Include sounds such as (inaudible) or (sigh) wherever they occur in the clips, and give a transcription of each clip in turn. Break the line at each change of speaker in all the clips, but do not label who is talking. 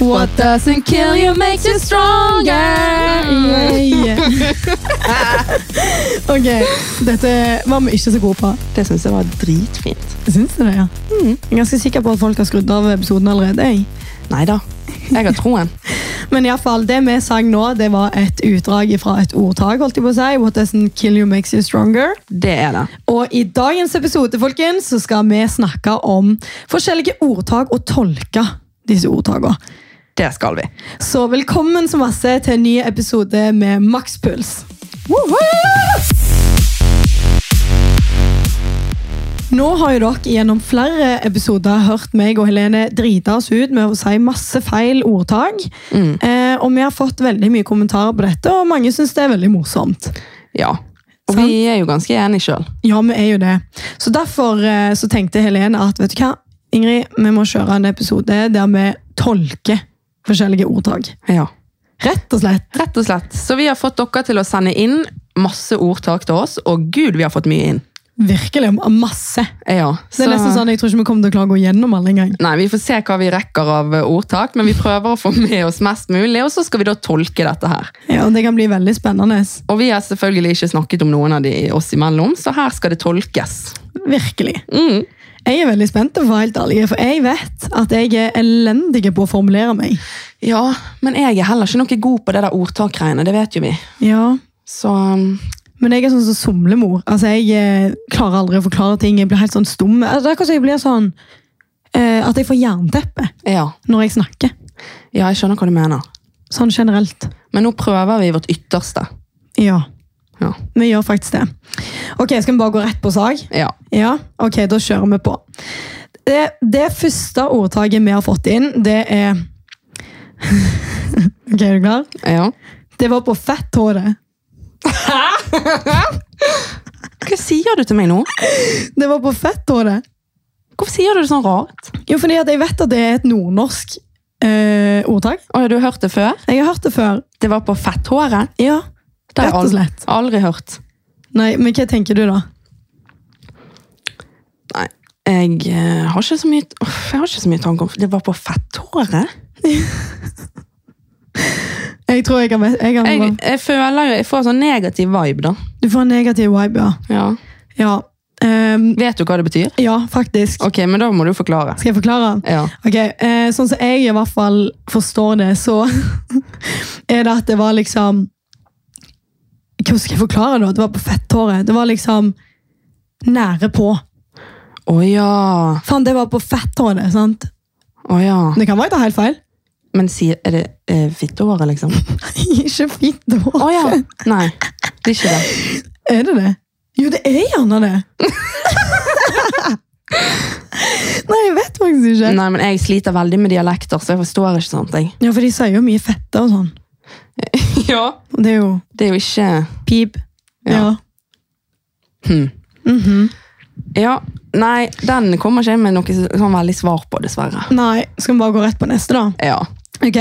What doesn't kill you makes you stronger.
Mm. (laughs) Ok, dette var vi ikke så gode på.
Det syns jeg var dritfint. Mm.
Syns du det, ja? Jeg er ganske sikker på at folk har skrudd av episoden allerede. Jeg.
Nei da. Jeg har troen.
Men i alle fall, det vi sang nå, det var et utdrag fra et ordtak. holdt jeg på å si. What doesn't kill you makes you stronger.
Det er det.
Og i dagens episode folkens, så skal vi snakke om forskjellige ordtak og tolke disse ordtakene.
Det skal vi.
Så velkommen så masse til en ny episode med Makspuls. Nå har jo dere gjennom flere episoder hørt meg og Helene drite oss ut med å si masse feil ordtak. Eh, og vi har fått veldig mye kommentarer på dette, og mange syns det er veldig morsomt.
Ja. Og
Sant.
vi er jo ganske enige sjøl.
Ja, vi er jo det. Så derfor eh, så tenkte Helene at vet du hva, Ingrid, vi må kjøre en episode der vi tolker forskjellige ordtak.
Ja.
Rett og slett.
Rett og slett. Så vi har fått dere til å sende inn masse ordtak til oss, og gud, vi har fått mye inn.
Virkelig masse.
Ja.
Det er nesten sånn, Jeg tror ikke vi kommer til å klare å gå gjennom alle engang.
Nei, Vi får se hva vi rekker av eh, ordtak, men vi prøver å få med oss mest mulig. Og så skal vi da tolke dette her.
Ja, og det kan bli veldig spennende.
Og vi har selvfølgelig ikke snakket om noen av de oss imellom, så her skal det tolkes.
Virkelig.
Mm.
Jeg er veldig spent, for å være helt ærlig, for jeg vet at jeg er elendig på å formulere meg.
Ja, men jeg er heller ikke noe god på det der ordtakgreiene, det vet jo vi.
Ja,
Så um,
Men jeg er sånn som somlemor. Altså, Jeg eh, klarer aldri å forklare ting. Jeg blir helt sånn stum. Altså, det er akkurat som jeg blir sånn eh, at jeg får jernteppe
ja.
når jeg snakker.
ja, jeg skjønner hva du mener.
Sånn generelt.
Men nå prøver vi vårt ytterste.
Ja,
Ja.
vi gjør faktisk det. Ok, Skal vi bare gå rett på sak?
ja.
Ja, ok, da kjører vi på. Det, det første ordtaket vi har fått inn, det er (laughs) Ok, er du klar?
ja.
Det var på fetthåret.
Hva sier du til meg nå?
Det var på fetthåret.
Hvorfor sier du det sånn rart?
Jo, fordi at jeg vet at det er et nordnorsk eh, ordtak.
Å, ja, du har hørt det før?
Jeg har hørt det før.
Det var på fetthåret.
Ja,
Det har
rett og
jeg
slett.
aldri, aldri hørt.
Nei, men hva tenker du da?
Nei, jeg eh, har ikke så mye Uff, Jeg har ikke så mye tanke om Det var på fetthåret?
Jeg tror jeg kan, ve- jeg kan
Jeg, jeg føler jo Jeg får sånn negativ vibe, da.
Du får en negativ vibe, ja.
Ja.
Ja, ehm,
Vet du hva det betyr?
ja faktisk.
Ok, men da må du forklare.
Skal jeg forklare?
Ja.
Ok, eh, Sånn som jeg i hvert fall forstår det, så (laughs) er det at det var liksom Hvordan skal jeg forklare det? Det var på fetthåret. Det var liksom nære på.
Å ja.
Faen, det var på fetthåret, sant?
Å ja.
Det kan være jeg tar helt feil. (laughs)
Men sier Er det eh, fittehåret, (laughs) liksom?
ikke fint hår.
Å ja. Nei. Det er ikke det.
(laughs) Er det det? Jo, det er gjerne
(laughs)
det. Nei, jeg vet faktisk ikke.
Nei, men jeg sliter veldig med dialekter, så jeg forstår ikke sånt, jeg.
Ja, for de sier jo mye fette og sånn.
(laughs) Ja.
Og det er jo
Det er jo ikke
pip. Ja. Mhm.
Ja. Nei, den kommer ikke jeg med noe sånn veldig svar på, dessverre.
Nei, skal vi bare gå rett på neste, da?
Ja.
Ok.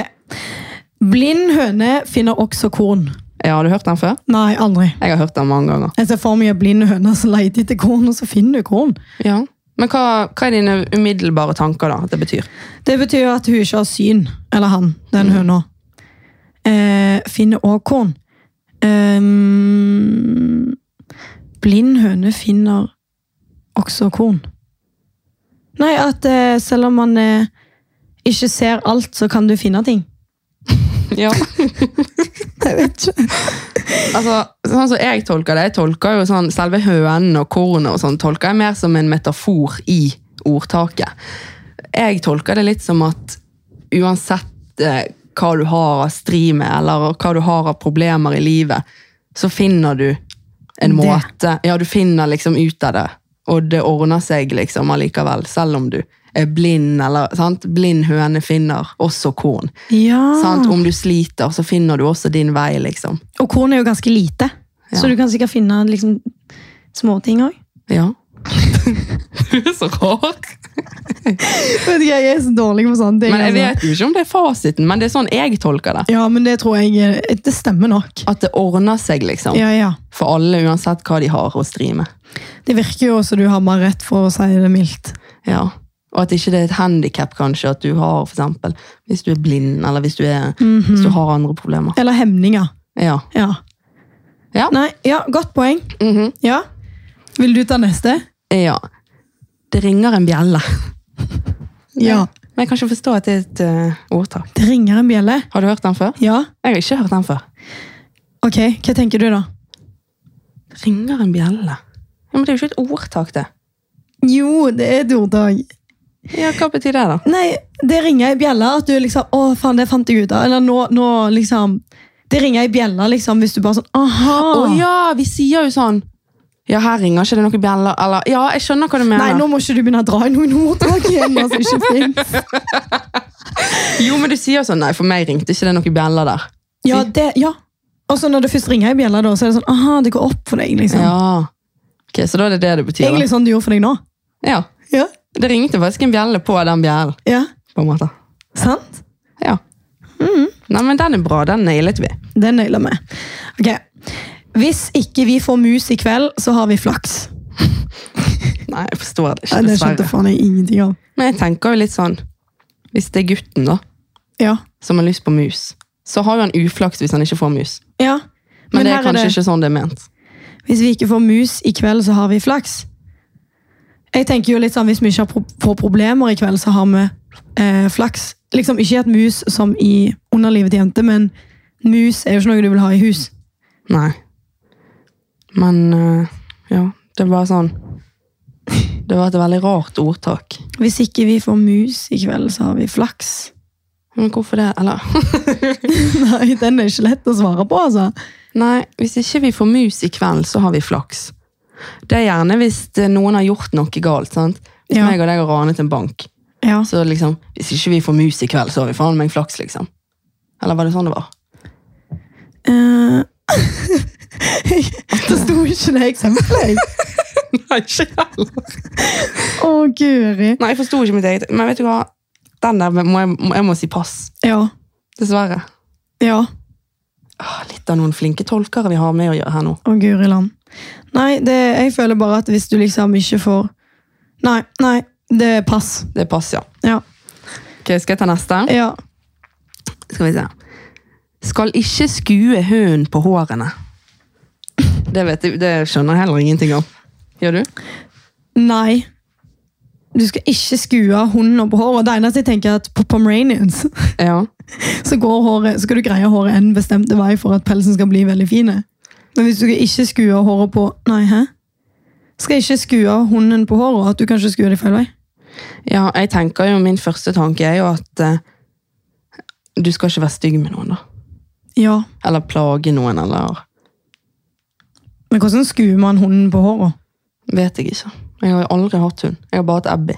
Blind høne finner også korn.
ja. Har du hørt den før?
Nei, aldri.
Jeg har hørt den mange ganger.
Jeg ser for meg en blind høne som leter etter korn, og så finner hun korn.
Ja. Men hva, hva er dine umiddelbare tanker da, at det betyr?
Det betyr jo at hun ikke har syn, eller han, den høna. Eh, finner også korn. Ehm, blind høne finner også korn. Nei, at eh, selv om man eh, ikke ser alt, så kan du finne ting.
Ja.
(laughs) Jeg vet ikke.
Altså, sånn som jeg tolker det, jeg tolker jo sånn, selve hønen og kornet og sånn, tolker jeg mer som en metafor i ordtaket. Jeg tolker det litt som at uansett eh, hva du har av stri med, eller hva du har av problemer i livet, så finner du en
Det.
måte, ja, du finner liksom ut av det, og det ordner seg liksom allikevel, selv om du er blind, eller, sant? Blind høne finner også korn.
Ja.
Sant? Om du sliter, så finner du også din vei, liksom.
Og korn er jo ganske lite, så
Ja.
du kan sikkert finne liksom, småting òg.
(laughs) Ja. du er så rar.
Jeg er så dårlig på sånne ting.
(laughs)
altså.
Men jeg vet jo ikke om det er fasiten, men det er sånn jeg tolker det.
Ja, men det tror jeg eh, Det stemmer nok.
At det ordner seg, liksom.
Ja, ja.
For alle, uansett hva de har å stri med.
Det virker jo som du har mer rett for å si det mildt.
Ja. Og at ikke det er et handikap kanskje at du har for eksempel, hvis du er blind, eller hvis du, er, hvis du har andre problemer.
Eller hemninger.
Ja.
Ja.
Ja.
Nei, ja, godt poeng.
Mhm.
Ja. Vil du ta neste?
ja. Det ringer en bjelle.
Ja.
Men jeg kan ikke forstå at det er et eh, ordtak.
Det ringer en bjelle.
Har du hørt den før?
Ja.
Jeg har ikke hørt den før.
Ok, hva tenker du da?
Ringer en bjelle? Ja, men det er jo ikke et ordtak, det.
Jo, det er et ordtak.
Ja, Hva betyr det, da?
Nei, det ringer ei bjelle at du liksom Å, faen, det fant jeg ut av. Eller nå, nå liksom Det ringer ei bjelle liksom, hvis du bare sånn Aha!
Å ja, vi sier jo sånn Ja, her ringer ikke det noen bjeller, eller Ja, jeg skjønner hva du mener.
Nei, nå må ikke du begynne å dra i noen ordtak igjen. Altså, ikke finnes.
(laughs) Jo, men du sier sånn Nei, for meg ringte ikke det noen bjeller der.
Ja, det, ja. Og så når det først ringer ei bjelle, da, så er det sånn Aha, det går opp for deg, liksom.
Ja. Ok, Så da er det det det betyr?
Egentlig
da.
sånn du gjorde for deg nå.
Ja.
Ja.
Det ringte faktisk en bjelle på den bjellen,
ja.
på en måte.
Sant?
Ja. Nei, men den er bra. Den nailet vi.
Det nøyler vi. Ok. Hvis ikke vi får mus i kveld, så har vi flaks.
Nei, jeg forstår det ikke,
Nei, det skjønte
dessverre.
faen jeg ingenting av.
Men jeg tenker jo litt sånn Hvis det er gutten, da,
Ja.
som har lyst på mus, så har jo han uflaks hvis han ikke får mus.
ja.
Men, det er
her
kanskje ikke sånn det er ment.
Hvis vi ikke får mus i kveld, så har vi flaks. Jeg tenker jo litt sånn, Hvis vi ikke har pro får problemer i kveld, så har vi eh, flaks. Liksom Ikke et mus som i underlivet til jente, men mus er jo ikke noe du vil ha i hus.
Nei. Men øh, ja, det var sånn Det var et veldig rart ordtak.
Hvis ikke vi får mus i kveld, så har vi flaks. (laughs)
Men hvorfor det? Eller (laughs)
Nei, Den er ikke lett å svare på, altså.
Nei, hvis ikke vi får mus i kveld, så har vi flaks. Det er gjerne hvis eh, noen har gjort noe galt. sant? Hvis
Ja.
meg og deg har ranet en bank,
Ja.
så liksom Hvis ikke vi får mus i kveld, så har vi faen meg flaks, liksom. Eller var det sånn det var?
Eh, (laughs) det sto ikke det eksempelet. jeg.
(laughs) Nei, ikke heller.
Å, guri.
Nei, jeg forsto ikke mitt eget. Men vet du hva? Den der må jeg, må- jeg må si pass.
Ja.
Dessverre.
Ja.
Åh, Ah, litt av noen flinke tolkere vi har med å gjøre her nå.
Å, guri land. Nei, det, jeg føler bare at hvis du liksom ikke får Nei, nei, det er pass.
Det er pass, ja.
Ja.
Ok, Skal jeg ta neste?
ja.
Skal vi se. Skal ikke skue hunden på hårene. Det, vet jeg, det skjønner jeg heller ingenting om. Gjør du?
Nei. Du skal ikke skue hunden opp på håret. Det eneste jeg tenker er at på pomeranians (laughs)
Ja.
så, går håret, så skal du greie håret en bestemte vei for at pelsen skal bli veldig fine. Men hvis du ikke skue håret på Nei, hæ? Skal ikke skue hunden på håret, at du kanskje skuer det feil vei?
ja, jeg tenker jo Min første tanke er jo at eh, du skal ikke være stygg med noen. da.
Ja.
Eller plage noen, eller
Men hvordan skuer man hunden på håret?
Vet jeg ikke. Jeg har jo aldri hatt hund. Jeg har bare hatt Abby.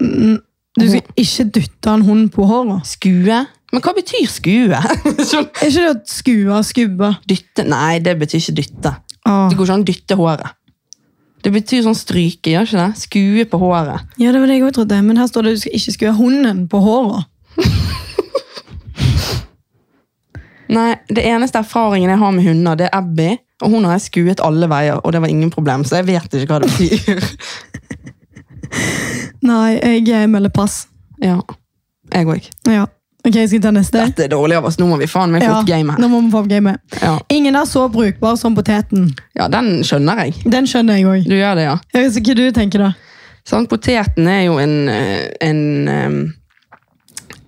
Du skal ikke dytte en hund på håret.
Skue? Men hva betyr skue? (laughs) Sånn,
Er ikke det å skue, skubbe?
dytte? Nei, det betyr ikke dytte.
Ah.
Det går ikke an å dytte håret. Det betyr sånn stryke, gjør ikke det? Skue på håret.
Ja, det var det jeg også trodde. Men her står det at du skal ikke skue hunden på håret.
Nei, det eneste erfaringen jeg har med hunder, det er Abby. Og hun har jeg skuet alle veier, og det var ingen problem, så jeg vet ikke hva det betyr.
Nei, jeg eh, melder pass.
ja, jeg òg.
Ja. Ok, jeg skal ta neste.
Dette er dårlig av oss. Nå må vi faen meg få opp gamet
nå
her.
må vi få opp gamet.
Ja.
Ingen er så brukbar som poteten.
ja, den skjønner jeg.
Den skjønner jeg òg.
Du gjør det, ja.
Så hva du tenker da?
Sånn, poteten er jo en, eh, en em,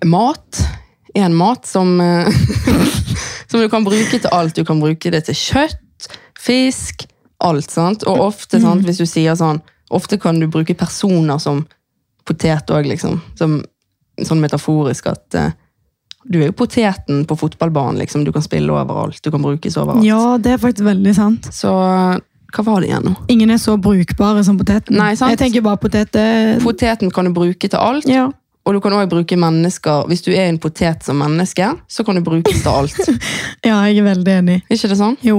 mat. En mat som, eh, (laughs) som du kan bruke til alt. Du kan bruke det til kjøtt, fisk, alt. sant? Og ofte, sant, hvis du sier sånn, ofte kan du bruke personer som potet òg, liksom. Som, sånn metaforisk at eh, du er jo poteten på fotballbanen, liksom. Du kan spille overalt. Du kan brukes overalt.
Ja, det er faktisk veldig sant.
Så hva var det igjen nå?
Ingen er så brukbare som poteten.
Nei, sant.
Jeg tenker bare potet er
Poteten kan du bruke til alt.
ja.
Og du kan også bruke mennesker Hvis du er en potet som menneske, så kan du brukes til
(laughs)
alt.
ja, jeg er veldig enig.
ikke det sånn?
Jo.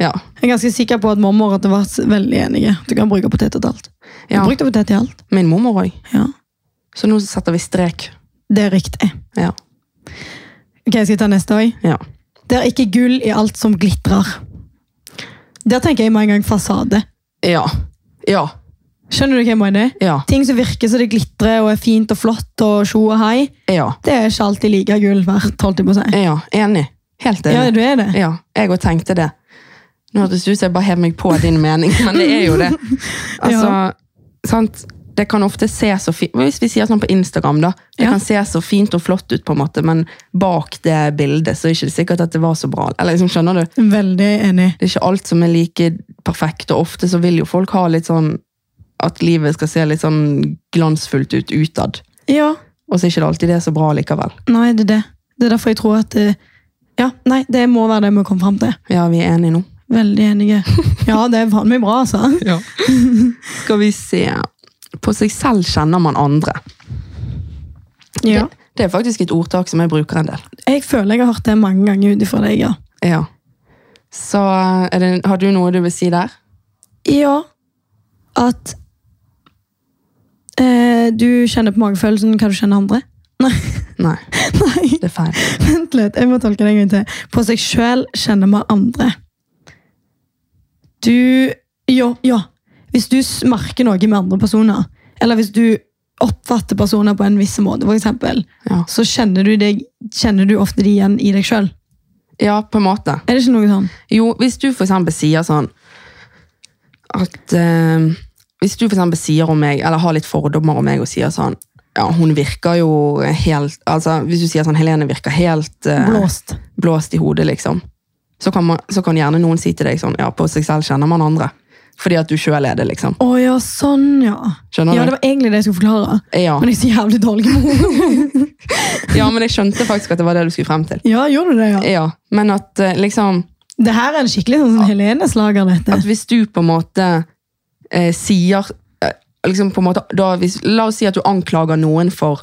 Ja.
Jeg er ganske sikker på at mamma og Rette vært veldig enige. Du kan bruke potet til alt. Du
Ja.
brukte potet til alt.
Min mormor òg.
Ja.
Så nå setter vi strek.
Det er riktig.
Ja.
Ok, jeg skal ta neste også.
ja.
Det er ikke gull i alt som glitrer. Der tenker jeg med en gang fasade.
Ja. ja.
Skjønner du hva jeg mener?
Ja.
Ting som virker så det glitrer og er fint og flott og sjo og hei,
Ja.
det er ikke alltid like gull verdt, holdt jeg på å si.
ja. Enig. Helt
Ja,
enig.
du er det.
Ja, jeg òg tenkte det. Nå hørtes det ut som jeg bare hev meg på din mening, men det er jo
(laughs)
det. Altså, sant? Det kan ofte se så fint Hvis vi sier sånn på Instagram, da. Det
Ja.
kan se så fint og flott ut, på en måte, men bak det bildet så er ikke det sikkert at det var så bra. Eller liksom, skjønner du?
Veldig enig.
Det er ikke alt som er like perfekt, og ofte så vil jo folk ha litt sånn At livet skal se litt sånn glansfullt ut utad.
Ja,
Og så er ikke det alltid det er så bra likevel.
nei, det er det. Det er derfor jeg tror at eh, Ja, nei, det må være det vi kommer fram til.
Ja, vi er enige nå.
Veldig enige. (laughs) Ja, det er faen meg bra, altså.
Skal vi se På seg selv kjenner man andre.
Ja.
Det, det er faktisk et ordtak som jeg bruker en del.
Jeg føler jeg har hørt det mange ganger ut ifra deg, ja.
Ja. Så er det, har du noe du vil si der?
Ja, at eh, Du kjenner på magefølelsen hva du kjenner andre. Nei,
Nei,
(laughs) nei,
det er feil.
vent litt. Jeg må tolke det en gang til. På seg sjøl kjenner man andre. Du Ja, ja. Hvis du s- merker noe med andre personer, eller hvis du oppfatter personer på en viss måte, for eksempel,
Ja.
så kjenner du, deg, kjenner du ofte de igjen i deg sjøl.
Ja, på en måte.
Er det ikke noe sånn?
Jo, hvis du for eksempel sier sånn At eh, Hvis du for eksempel sier om meg Eller har litt fordommer om meg og sier sånn Ja, hun virker jo helt Altså, hvis du sier sånn Helene virker helt eh,
Blåst.
blåst i hodet liksom så kan, man, så kan gjerne noen si til deg sånn Ja, på seg selv kjenner man andre Fordi at du selv er det liksom
Å ja, sånn, ja.
Skjønner
Ja,
du?
Det var egentlig det jeg skulle forklare.
Ja.
Men jeg er så jævlig dårlig med ord.
ja, men jeg skjønte faktisk at det var det du skulle frem til
Ja, gjorde du det, ja?
Ja, men at eh, liksom
Det her er en skikkelig sånn, sånn Helene-slager, dette.
at hvis du på en måte eh, sier eh, liksom på en måte, da, hvis, La oss si at du anklager noen for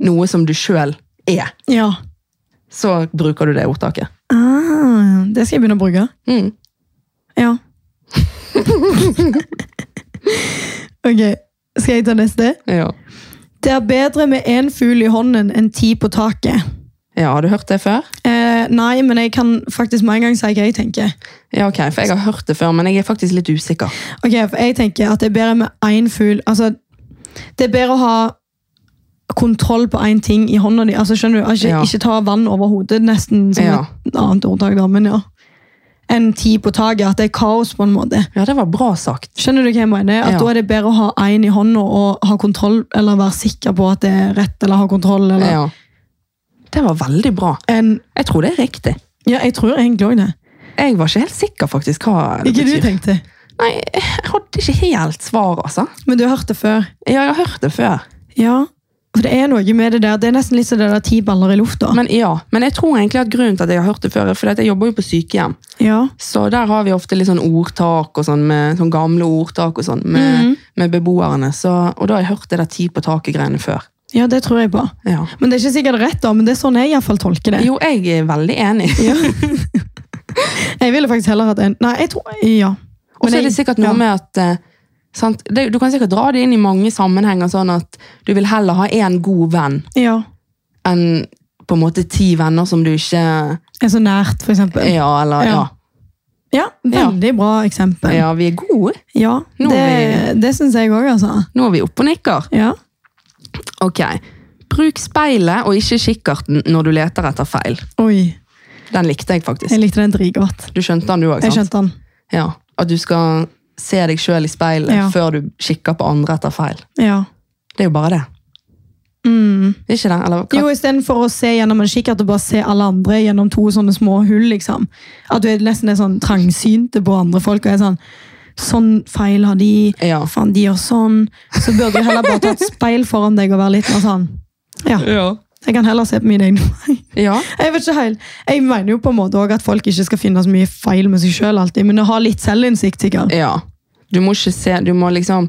noe som du sjøl er.
Ja.
Så bruker du det ordtaket.
Ah, det skal jeg begynne å bruke.
Mm.
(laughs) Ja. ok, skal jeg ta neste?
Ja.
Det er bedre med én fugl i hånden enn ti på taket.
ja, Har du hørt det før?
Eh, nei, men jeg kan faktisk med en gang si hva jeg tenker.
Ja, ok, for Jeg har hørt det før, men jeg er faktisk litt usikker.
Ok, for jeg tenker at det er bedre med én fugl Altså, det er bedre å ha kontroll på én ting i hånda di. Altså, skjønner du? Altså,
Ja.
Ikke ta vann over hodet, nesten, som
Ja.
et annet ordtak, da, men ja. Enn ti på taket. At det er kaos, på en måte.
Ja, det var bra sagt.
Skjønner du hva jeg mener? At
Ja.
Da er det bedre å ha én i hånda og ha kontroll, eller være sikker på at det er rett, eller ha kontroll, eller
Ja. Det var veldig bra.
enn
Jeg tror det er riktig.
Ja, jeg tror egentlig òg det.
Jeg var ikke helt sikker faktisk hva det
Ikke du
betyr.
tenkte.
Nei, jeg hadde ikke helt svar, altså.
Men du har hørt det før.
Ja, jeg har hørt det før.
Ja. For det er noe med det der. Det er nesten litt som det der ti baller i lufta.
Men ja, men jeg tror egentlig at grunnen til at jeg har hørt det før, er fordi at jeg jobber jo på sykehjem.
Ja.
Så der har vi ofte litt sånn ordtak og sånn, med, sånn gamle ordtak og sånn med,
Mhm.
med beboerne. Så, og da har jeg hørt det der ti på taket-greiene før.
ja, det tror jeg på.
Ja.
Men det er ikke sikkert rett, da, men det er sånn jeg i hvert fall tolker det.
Jo, jeg er veldig enig.
(laughs) Ja. jeg ville faktisk heller hatt en Nei, jeg tror Ja.
Og så
Men
er det
jeg-
sikkert noe
ja.
med at eh, sant? Det, Du kan sikkert dra det inn i mange sammenhenger sånn at du vil heller ha én god venn
Ja.
enn på en måte ti venner som du ikke
Er så nært, for eksempel.
Ja, eller Ja,
Ja. Ja, veldig bra eksempel.
ja vi er gode.
Ja,
Nå er
det, det syns jeg òg, altså.
Nå er vi oppe og nikker.
Ja.
Ok. Bruk speilet og ikke kikkerten når du leter etter feil.
Oi,
Den likte jeg faktisk.
jeg likte den dritgodt.
Du skjønte den du òg,
Jeg
sant?
skjønte den.
Ja. At du skal se deg sjøl i speilet
Ja.
før du kikker på andre etter feil.
Ja.
Det er jo bare det.
Mm.
Det er Ikke det? Eller hva?
Jo, istedenfor å se gjennom en kikkert og bare se alle andre gjennom to sånne små hull, liksom. At du er nesten er sånn trangsynte på andre folk og er sånn Sånn feil har de.
Ja.
Faen, de gjør sånn. Så burde du heller bare ta et speil foran deg og være litt mer sånn. Ja,
Ja.
jeg kan heller se på mine egne feil.
ja.
Jeg vet ikke helt. Jeg mener jo på en måte også at folk ikke skal finne så mye feil med seg sjøl alltid, men å ha litt selvinnsikt, sikkert.
Du må ikke se Du må liksom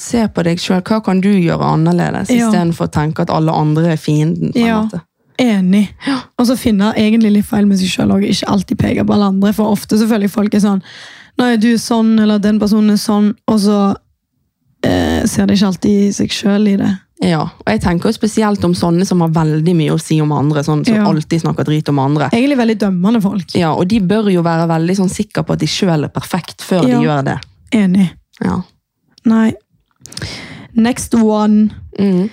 Se på deg sjøl. Hva kan du gjøre annerledes,
Ja.
istedenfor å tenke at alle andre er fienden? på en
Ja.
måte.
Enig.
Ja.
Og så finne egentlig litt feil med seg sjøl og ikke alltid peke på alle andre. For ofte så føler jeg folk er sånn Nei, du er sånn, eller den personen er sånn, og så eh, ser de ikke alltid seg sjøl i det.
Ja, og jeg tenker jo spesielt om sånne som har veldig mye å si om andre, sånn, som
Ja.
alltid snakker drit om andre.
Egentlig veldig dømmende folk.
Ja, og de bør jo være veldig sånn sikre på at de sjøl er perfekt før
Ja.
de gjør det.
Enig.
Ja.
Nei. Next one.
Mm.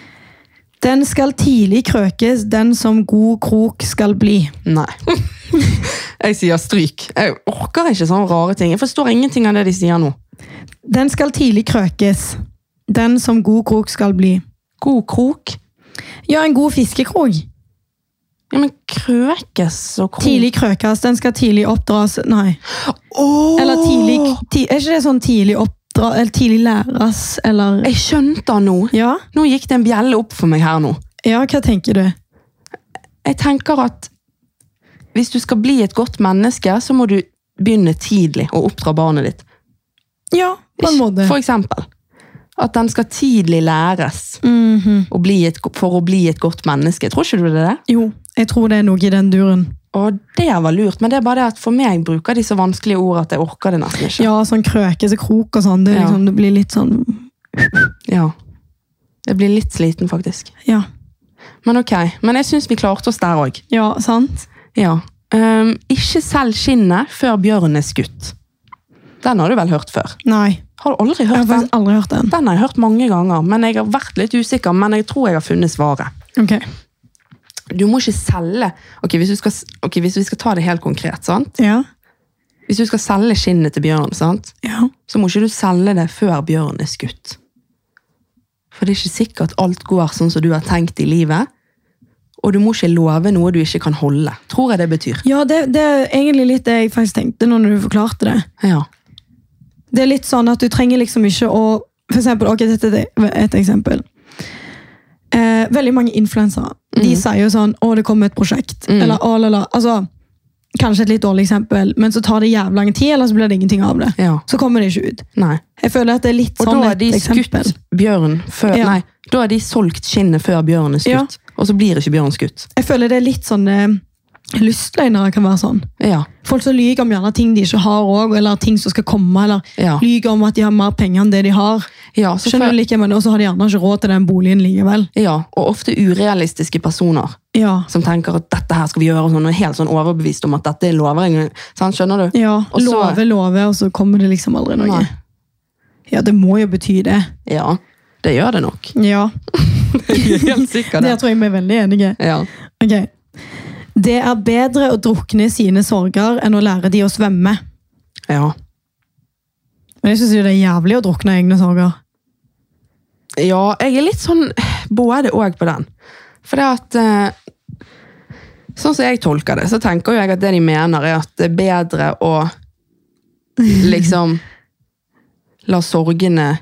Den skal tidlig krøkes, den som god krok skal bli.
Nei. (laughs) jeg sier stryk. Jeg orker ikke sånne rare ting. Jeg forstår ingenting av det de sier nå.
Den skal tidlig krøkes, den som god krok skal bli.
God krok.
Ja, en god fiskekrok.
Ja, men krøkes og krok
Tidlig krøkes, den skal tidlig oppdras. Nei.
Åh!
Eller tidlig ti, Er ikke det sånn tidlig oppdra... Eller tidlig læres, eller
Jeg skjønte han nå.
Ja?
Nå gikk det en bjelle opp for meg her nå.
Ja, hva tenker du?
Jeg tenker at hvis du skal bli et godt menneske, så må du begynne tidlig å oppdra barnet ditt.
Ja, på en måte.
For eksempel. At den skal tidlig læres
Mhm.
å bli et, go- for å bli et godt menneske. Tror ikke du det er det?
Jo, jeg tror det er noe i den duren.
Og det var lurt, men det er bare det at for meg bruker de så vanskelige ord at jeg orker det nesten ikke.
Ja, sånn krøkes og krok og sånn. Det, er
Ja.
liksom, det blir litt sånn
Ja. Jeg blir litt sliten, faktisk.
Ja.
Men ok, men jeg syns vi klarte oss der òg.
Ja, sant?
Ja. Ehm, ikke selg skinnet før bjørnen er skutt. Den har du vel hørt før?
Nei.
Har du aldri
Jeg har
hørt den?
faktisk aldri hørt den.
Den har jeg hørt mange ganger, men jeg har vært litt usikker, men jeg tror jeg har funnet svaret.
Ok.
Du må ikke selge Ok, hvis, du skal, s- ok, hvis vi skal ta det helt konkret, sant?
Ja.
Hvis du skal selge skinnet til bjørnen, sant?
Ja.
så må ikke du selge det før bjørnen er skutt. For det er ikke sikkert alt går sånn som du har tenkt i livet. Og du må ikke love noe du ikke kan holde. Tror jeg det betyr.
Ja, det, det er egentlig litt det jeg faktisk tenkte nå når du forklarte det.
Ja.
Det er litt sånn at du trenger liksom ikke å For eksempel, ok, dette er det- et eksempel. Eh, veldig mange influensere
Mhm.
De sier jo sånn 'Å, det kommer et prosjekt'.
Mm.
Eller 'Å, la, la'. Altså, kanskje et litt dårlig eksempel, men så tar det jævlig lang tid, eller så blir det ingenting av det.
ja.
Så kommer det ikke ut.
Nei.
Jeg føler at det er litt
Og
sånn
da er
et
de
eksempel.
skutt bjørn før
Ja.
Nei, da er de solgt skinnet før bjørnen er skutt. Og så blir ikke bjørnen skutt.
Jeg føler det er litt sånn eh, Lystløgnere kan være sånn.
Ja.
Folk som lyver om gjerne ting de ikke har òg, eller ting som skal komme, eller
Ja.
lyver om at de har mer penger enn det de har.
ja, så
Skjønner
før,
du like, men også har de gjerne ikke råd til den boligen likevel.
ja. Og ofte urealistiske personer
Ja.
som tenker at dette her skal vi gjøre, og, sånn, og er helt sånn overbevist om at dette er lover. Sant, skjønner du?
ja.
Og så-
love, love, og så kommer det liksom aldri noe.
Nei.
Ja, det må jo bety det.
Ja, det gjør det
(laughs)
nok.
Ja,
Helt sikkert
Der
det.
tror jeg vi er veldig enige.
Ja.
Ok. Det er bedre å drukne i sine sorger enn å lære de å svømme.
Ja.
Men jeg syns det er jævlig å drukne i egne sorger.
ja, jeg er litt sånn både òg på den. For det at eh, Sånn som jeg tolker det, så tenker jo jeg at det de mener, er at det er bedre å liksom La sorgene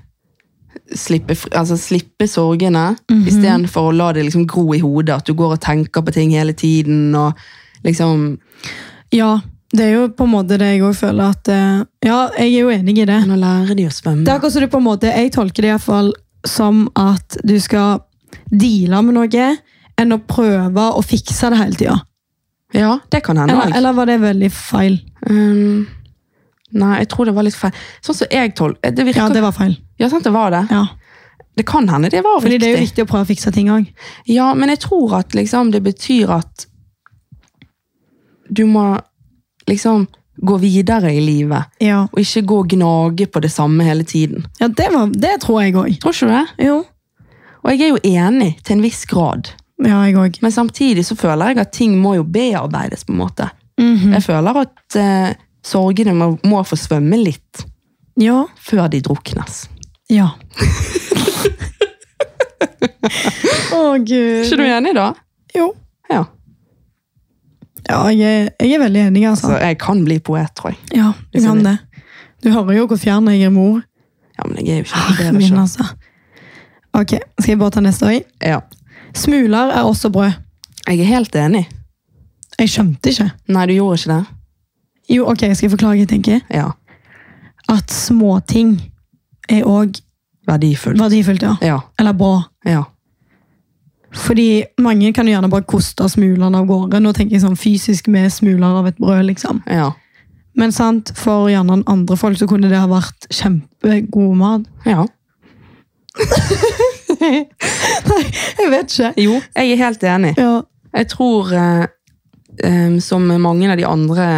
slippe, fri- altså slippe sorgene, istedenfor å la det liksom gro i hodet. At du går og tenker på ting hele tiden og liksom
Ja, det er jo på en måte det jeg òg føler at eh, Ja, jeg er jo enig i det.
Nå lærer de å
Det er
svømme.
akkurat som du på en måte Jeg tolker det iallfall som at du skal deale med noe, enn å prøve å fikse det hele tida.
Ja, det kan hende. altså.
Eller,
også.
eller var det veldig feil?
Ehm, nei, jeg tror det var litt feil. Sånn som jeg tolker Det virker
Ja, det var feil.
Ja, sant, det var det.
Ja.
Det kan hende det var
Fordi
riktig.
det er jo viktig å prøve å fikse ting òg.
Ja, men jeg tror at liksom, det betyr at du må liksom gå videre i livet,
Ja.
og ikke gå og gnage på det samme hele tiden.
ja, det, var, det tror jeg òg.
Tror ikke du det?
Jo.
Og jeg er jo enig til en viss grad,
Ja, jeg òg.
men samtidig så føler jeg at ting må jo bearbeides på en måte. Jeg føler at eh, sorgene må, må få svømme litt
Ja.
før de druknes.
(laughs) Ja. Å, gud.
Er ikke du enig da?
Jo.
Ja.
Ja, jeg er, jeg er veldig enig, altså.
Så jeg kan bli poet, tror jeg.
Ja, du kan det. Du hører jo hvor fjern jeg er mor.
Ja, men jeg er jo ikke noe
Arr,
bedre
min,
selv.
altså. Ok, skal jeg bare ta neste òg?
Ja.
Smuler er også brød.
Jeg er helt enig.
Jeg skjønte ikke.
Nei, du gjorde ikke det.
Jo, ok, skal jeg forklare hva jeg tenker?
Ja.
At småting er òg
Verdifullt.
verdifullt, ja.
Ja.
Eller bra.
ja.
Fordi mange kan jo gjerne bare koste smulene av gårde. Nå tenker jeg sånn fysisk med smuler av et brød, liksom.
Ja.
Men sant, for gjerne andre folk så kunne det ha vært kjempegod
(laughs)
mat.
ja.
Nei, jeg vet ikke.
Jo, jeg er helt enig.
Ja,
eh, Jeg tror, eh, em, som mange av de andre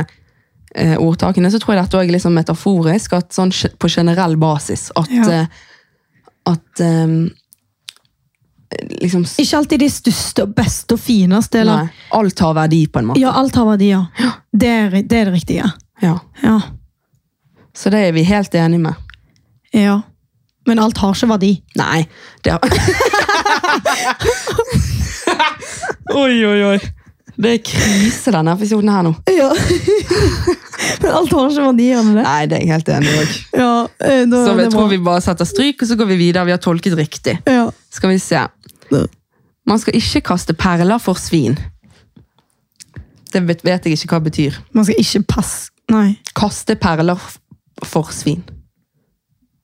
eh, ordtakene, så tror jeg dette også er litt sånn metaforisk, at sånn ge- på generell basis, at,
Ja.
eh, at eh, liksom, s-
Ikke alltid de største og beste og fineste.
nei,
Eller,
alt har verdi på en måte.
ja, alt har verdier. Det er, det er det riktige.
Ja.
Ja.
Så det er vi helt enige med.
ja. Men alt har ikke verdi.
Nei, det har... (laughs) oi, oi, oi. Det er krise denne episoden her nå.
Ja. (laughs) Men alt har ikke verdi, gjør det det?
Nei, det er jeg helt enig i. også.
Ja, eh, da,
Så
det
jeg
er
tror
bra.
vi bare setter stryk, og så går vi videre. Vi har tolket riktig.
ja.
Skal vi se. Man skal ikke kaste perler for svin. Det vet vet jeg ikke hva det betyr.
Man skal ikke passe Nei.
Kaste perler f- for svin.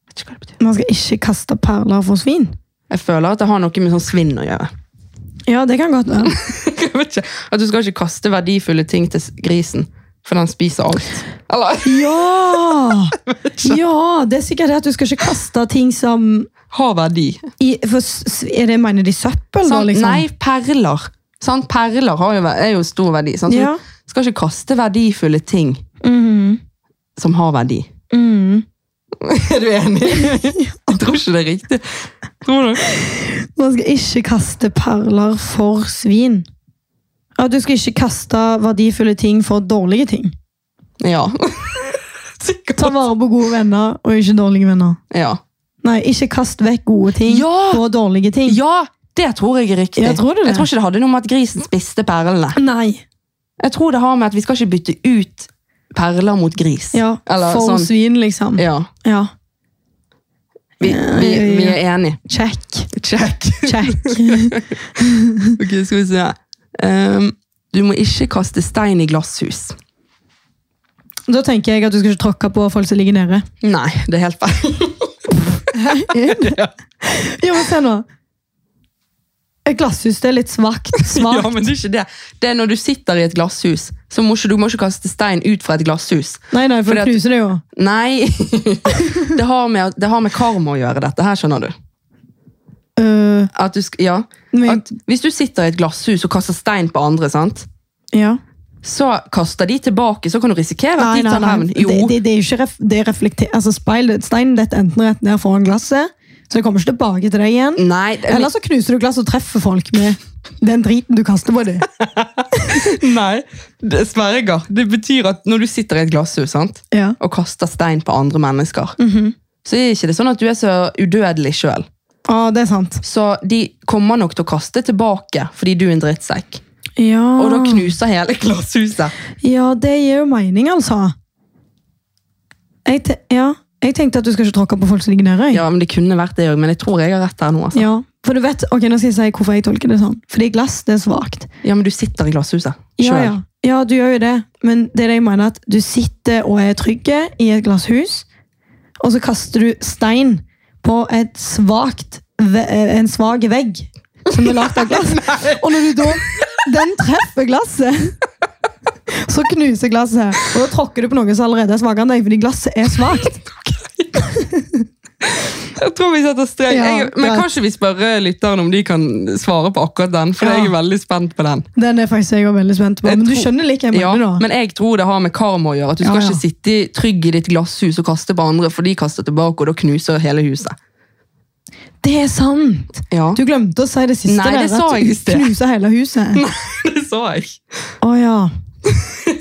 Vet ikke hva det betyr.
Man skal ikke kaste perler for svin.
Jeg føler at det har noe med sånn svinn å gjøre. (laughs)
Ja, det kan godt være.
Jeg vet ikke. At du skal ikke kaste verdifulle ting til s- grisen, for den spiser alt. Eller
(laughs)
(laughs)
Ja! ja! Det er sikkert det at du skal ikke kaste ting som
har verdi.
i, for, s- er det, Mener de søppel, da?
Sant?
Liksom?
Sånn, Nei, perler. Sant? Perler har jo, ver- er jo stor verdi. Sant? Så
Ja.
Du skal ikke kaste verdifulle ting
Mhm.
som har verdi.
Mhm.
(laughs) Er du enig? Jeg tror ikke det er riktig. Tror du?
Man skal ikke kaste perler for svin. At du skal ikke kaste verdifulle ting for dårlige ting.
Ja.
Ta
(laughs) Sikkert. Sånn.
vare på gode venner og ikke dårlige venner.
Ja.
Nei, ikke kast vekk gode ting
Ja!
for dårlige ting.
ja, det tror jeg er riktig.
Ja, tror du det?
Jeg tror ikke det hadde noe med at grisen spiste perlene.
Nei.
Jeg tror det har med at vi skal ikke bytte ut perler mot gris.
Ja,
Eller
for
sånn.
svin, liksom.
Ja.
Ja.
Vi, vi, vi er enige.
Check.
Check.
Check.
Ok, skal vi se. Um, du må ikke kaste stein i glasshus.
da tenker jeg at du skal ikke tråkke på folk som ligger nede.
Nei, det er helt
(laughs)
feil.
Ja, men se nå. Et glasshus det er litt
(laughs)
svakt. svakt.
Ja, men det er ikke det. Det er når du sitter i et glasshus, så må ikke, du må ikke kaste stein ut fra et glasshus.
Nei, nei, for
Fordi
da
at-
knuser det jo.
Nei, (laughs) det har med, det har med karma å gjøre dette her, skjønner du.
Øh,
At du sk- ja.
men,
At hvis du sitter i et glasshus og kaster stein på andre, sant?
ja.
så kaster de tilbake, så kan du risikere at
Nei,
de
nei,
tar hevn.
nei.
Jo,
Det, det, det er jo ikke ref, det er reflekter... Altså, speil, steinen detter enten rett ned foran glasset, så det kommer ikke tilbake til deg igjen.
nei, det-
Eller så knuser du glass og treffer folk med den driten du kaster på
(laughs)
dem.
nei. Det, sverger. Det betyr at når du sitter i et glasshus sant?
Ja.
og kaster stein på andre mennesker,
Mhm.
så er ikke det sånn at du er så udødelig sjøl.
Å, det er sant.
Så de kommer nok til å kaste tilbake fordi du er en drittsekk.
Ja.
Og da knuser hele glasshuset.
ja, det gir jo mening, altså. Jeg, te ja. jeg tenkte at du skal ikke tråkke på folk som ligger nede. jeg.
Ja, men Det kunne vært det òg, men jeg tror jeg har rett her nå. altså.
Ja, for du vet, ok, nå skal jeg si hvorfor jeg tolker det sånn. Fordi glass, det er svagt.
Ja, men du sitter i glasshuset
Ja,
sjøl.
ja. ja, du gjør jo det. Men det er det jeg mener at du sitter og er trygge i et glasshus, og så kaster du stein på et svagt, ve- en svag vegg som er lagt av
(laughs)
glass. og når du da, den treffer glasset, så knuser glasset. Og da tråkker du på noe som allerede er svakere enn deg, fordi glasset er svagt.
Jeg tror vi setter strek.
Ja,
jeg, men
greit.
kan ikke vi spørre lytterne om de kan svare på akkurat den? For
Ja.
jeg er veldig spent på den.
Den er faktisk jeg også veldig spent på,
Jeg
men du
tror-
skjønner like jeg
Ja,
mener da.
men jeg tror det har med karma å gjøre. At du skal
Ja, ja.
ikke sitte i- trygg i ditt glasshus og kaste på andre, for de kaster tilbake, og da knuser hele huset.
Det er sant!
Ja,
Du glemte å si det siste
Nei, det
der,
sa
at
jeg i
du
sted.
knuser hele huset.
(laughs) det så jeg.
Å ja.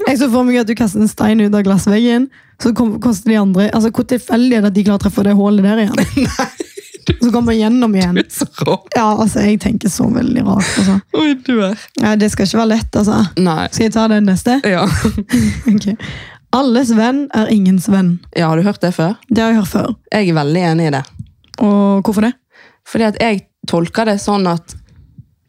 Jeg så for meg at du kastet en stein ut av glassveggen, så kom, koster de andre Altså, Hvor tilfeldig er det at de klarer å treffe det hullet der igjen? (laughs) Så kommer man gjennom igjen.
Du er så rå.
Ja, altså, Jeg tenker så veldig rart. altså.
Oi, du er.
Ja, det skal ikke være lett, altså.
Nei.
Skal jeg ta den (laughs) neste?
Ja.
Ok. Alles venn er ingens venn.
ja, har du hørt det før?
Det har jeg hørt før.
Jeg er veldig enig i det.
Og hvorfor det?
Fordi at jeg tolker det sånn at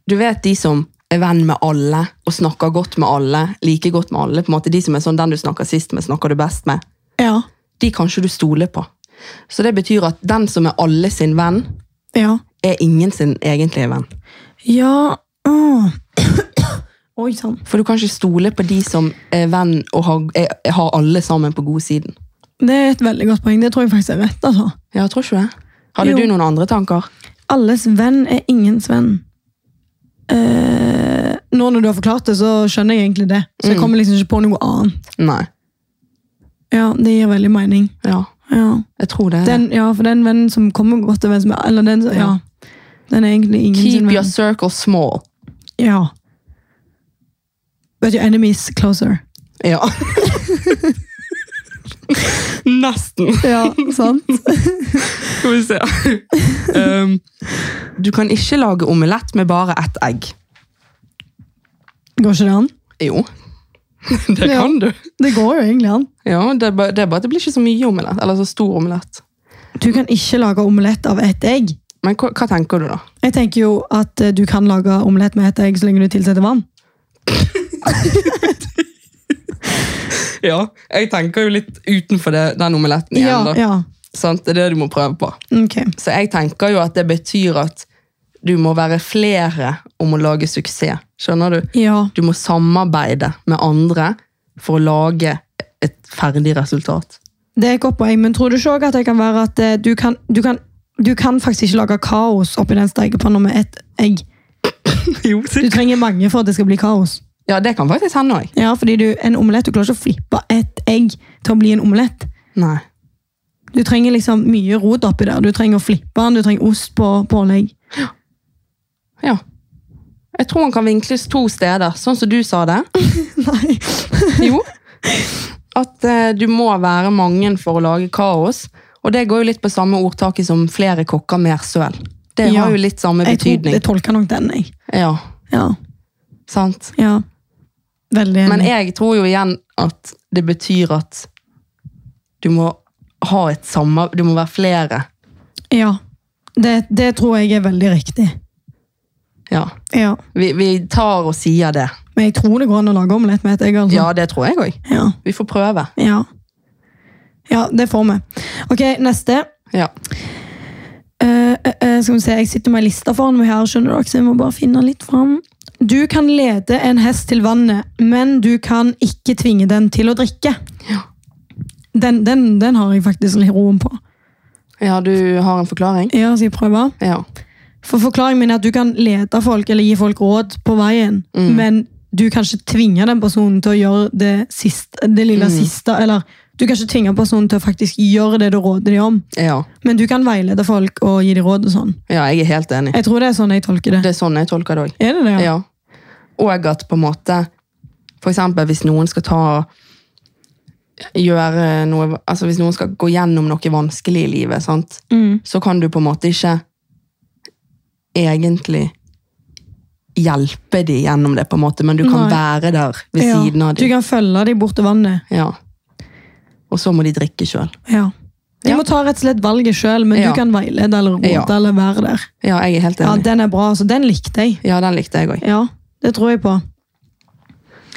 du vet de som er venn med alle, og snakker godt med alle, like godt med alle, på en måte de som er sånn den du snakker sist med, snakker du best med,
Ja.
de kan ikke du stole på. Så det betyr at den som er alle sin venn,
Ja.
er ingen sin egentlige venn.
Ja Åh. (coughs) Oi sann.
For du kan ikke stole på de som er venn og har, er, har alle sammen på god siden.
Det er et veldig godt poeng. Det tror jeg faktisk er rett. altså.
Ja, jeg tror ikke det. Hadde
Jo.
du noen andre tanker?
Alles venn er ingens venn. Eh, nå når du har forklart det, så skjønner jeg egentlig det. Så jeg kommer liksom ikke på noe annet.
Nei.
Ja, det gir veldig mening.
Ja,
Ja.
jeg tror det. er det.
Den, ja, for den vennen som kommer godt til venn som Eller den som Ja. Den er egentlig ingen sin
Keep
venn.
your circle small.
Ja. But your enemies closer.
Ja. Nesten.
Ja, (laughs) sant?
Skal vi se. Um, du kan ikke lage omelett med bare ett egg.
Går ikke det an?
Jo. Det
Ja.
kan du.
Det går jo egentlig an.
Ja, det er bare det, er bare, at det blir ikke så mye omelett. Eller så stor omelett.
Du kan ikke lage omelett av ett egg.
Men hva, hva tenker du, da?
Jeg tenker jo at eh, du kan lage omelett med ett egg så lenge du tilsetter vann.
Ja, Jeg tenker jo litt utenfor det, den omeletten igjen. da.
ja.
Sant? Det er det du må prøve på.
Ok.
Så jeg tenker jo at det betyr at du må være flere om å lage suksess. Skjønner du?
Ja.
Du må samarbeide med andre for å lage et ferdig
(laughs)
resultat.
Det er et godt poeng, men tror du ikke òg at det kan være at eh, du kan, du, kan, du kan faktisk ikke lage kaos oppi den stekepanna med ett egg?
Jo,
Du trenger mange for at det skal bli kaos.
Ja, det kan faktisk hende òg.
Ja, fordi du, en omelett, du klarer ikke å flippe ett egg til å bli en omelett.
Nei.
Du trenger liksom mye rot oppi der. Du trenger å flippe den, du trenger ost på pålegg.
Ja. Jeg tror man kan vinkles to steder, sånn som du sa det.
(laughs) (laughs) Nei.
Jo. At eh, du må være mange for å lage kaos. Og det går jo litt på samme ordtaket som 'flere kokker, mer søl'. Det
Ja.
har jo litt samme
Jeg tror
betydning.
det tolker nok den, jeg.
Ja,
Ja.
sant?
ja. Veldig
Men
enig.
jeg tror jo igjen at det betyr at du må ha et samme... Du må være flere.
Ja. Det, det tror jeg er veldig riktig.
Ja.
Ja.
Vi, vi tar og sier det.
Men jeg tror det går an å lage omelett med ett egg. altså.
Ja, det tror jeg òg.
Ja.
Vi får prøve.
Ja. ja, det får vi. Ok, neste.
Ja.
Eh, eh, eh, skal vi se, Jeg sitter med ei liste foran meg her, skjønner dere, så jeg må bare finne litt fram. Du kan lede en hest til vannet, men du kan ikke tvinge den til å drikke. Den, den, den har jeg faktisk litt roen på.
ja, du har en forklaring?
Ja, skal jeg prøve?
Ja.
For Forklaringen min er at du kan lede folk eller gi folk råd på veien, men du kan ikke tvinge den personen til å gjøre det, sist- det lille siste. Eller du kan ikke tvinge personen til å faktisk gjøre det du råder dem om.
ja.
Men du kan veilede folk og gi dem råd og sånn.
Ja, jeg er helt enig.
Jeg tror det er sånn jeg tolker det.
Det er sånn jeg tolker det òg.
Er det det?
Ja. Og at på en måte For eksempel hvis noen skal ta Gjøre noe Altså hvis noen skal gå gjennom noe vanskelig i livet, sant?
Mm.
så kan du på en måte ikke egentlig hjelpe de gjennom det, på en måte, men du kan
Nei.
være der ved
Ja.
siden av
Du
dem.
kan følge dem bort til vannet.
Ja. Og så må de drikke sjøl.
Ja. De
Ja.
må ta rett og slett valget sjøl, men
Ja.
du kan veilede eller råde
Ja.
eller være der.
Ja, jeg er helt
Ja,
enig.
Den er bra, altså. Den likte jeg.
Ja, den likte jeg òg.
Ja, Det tror jeg på.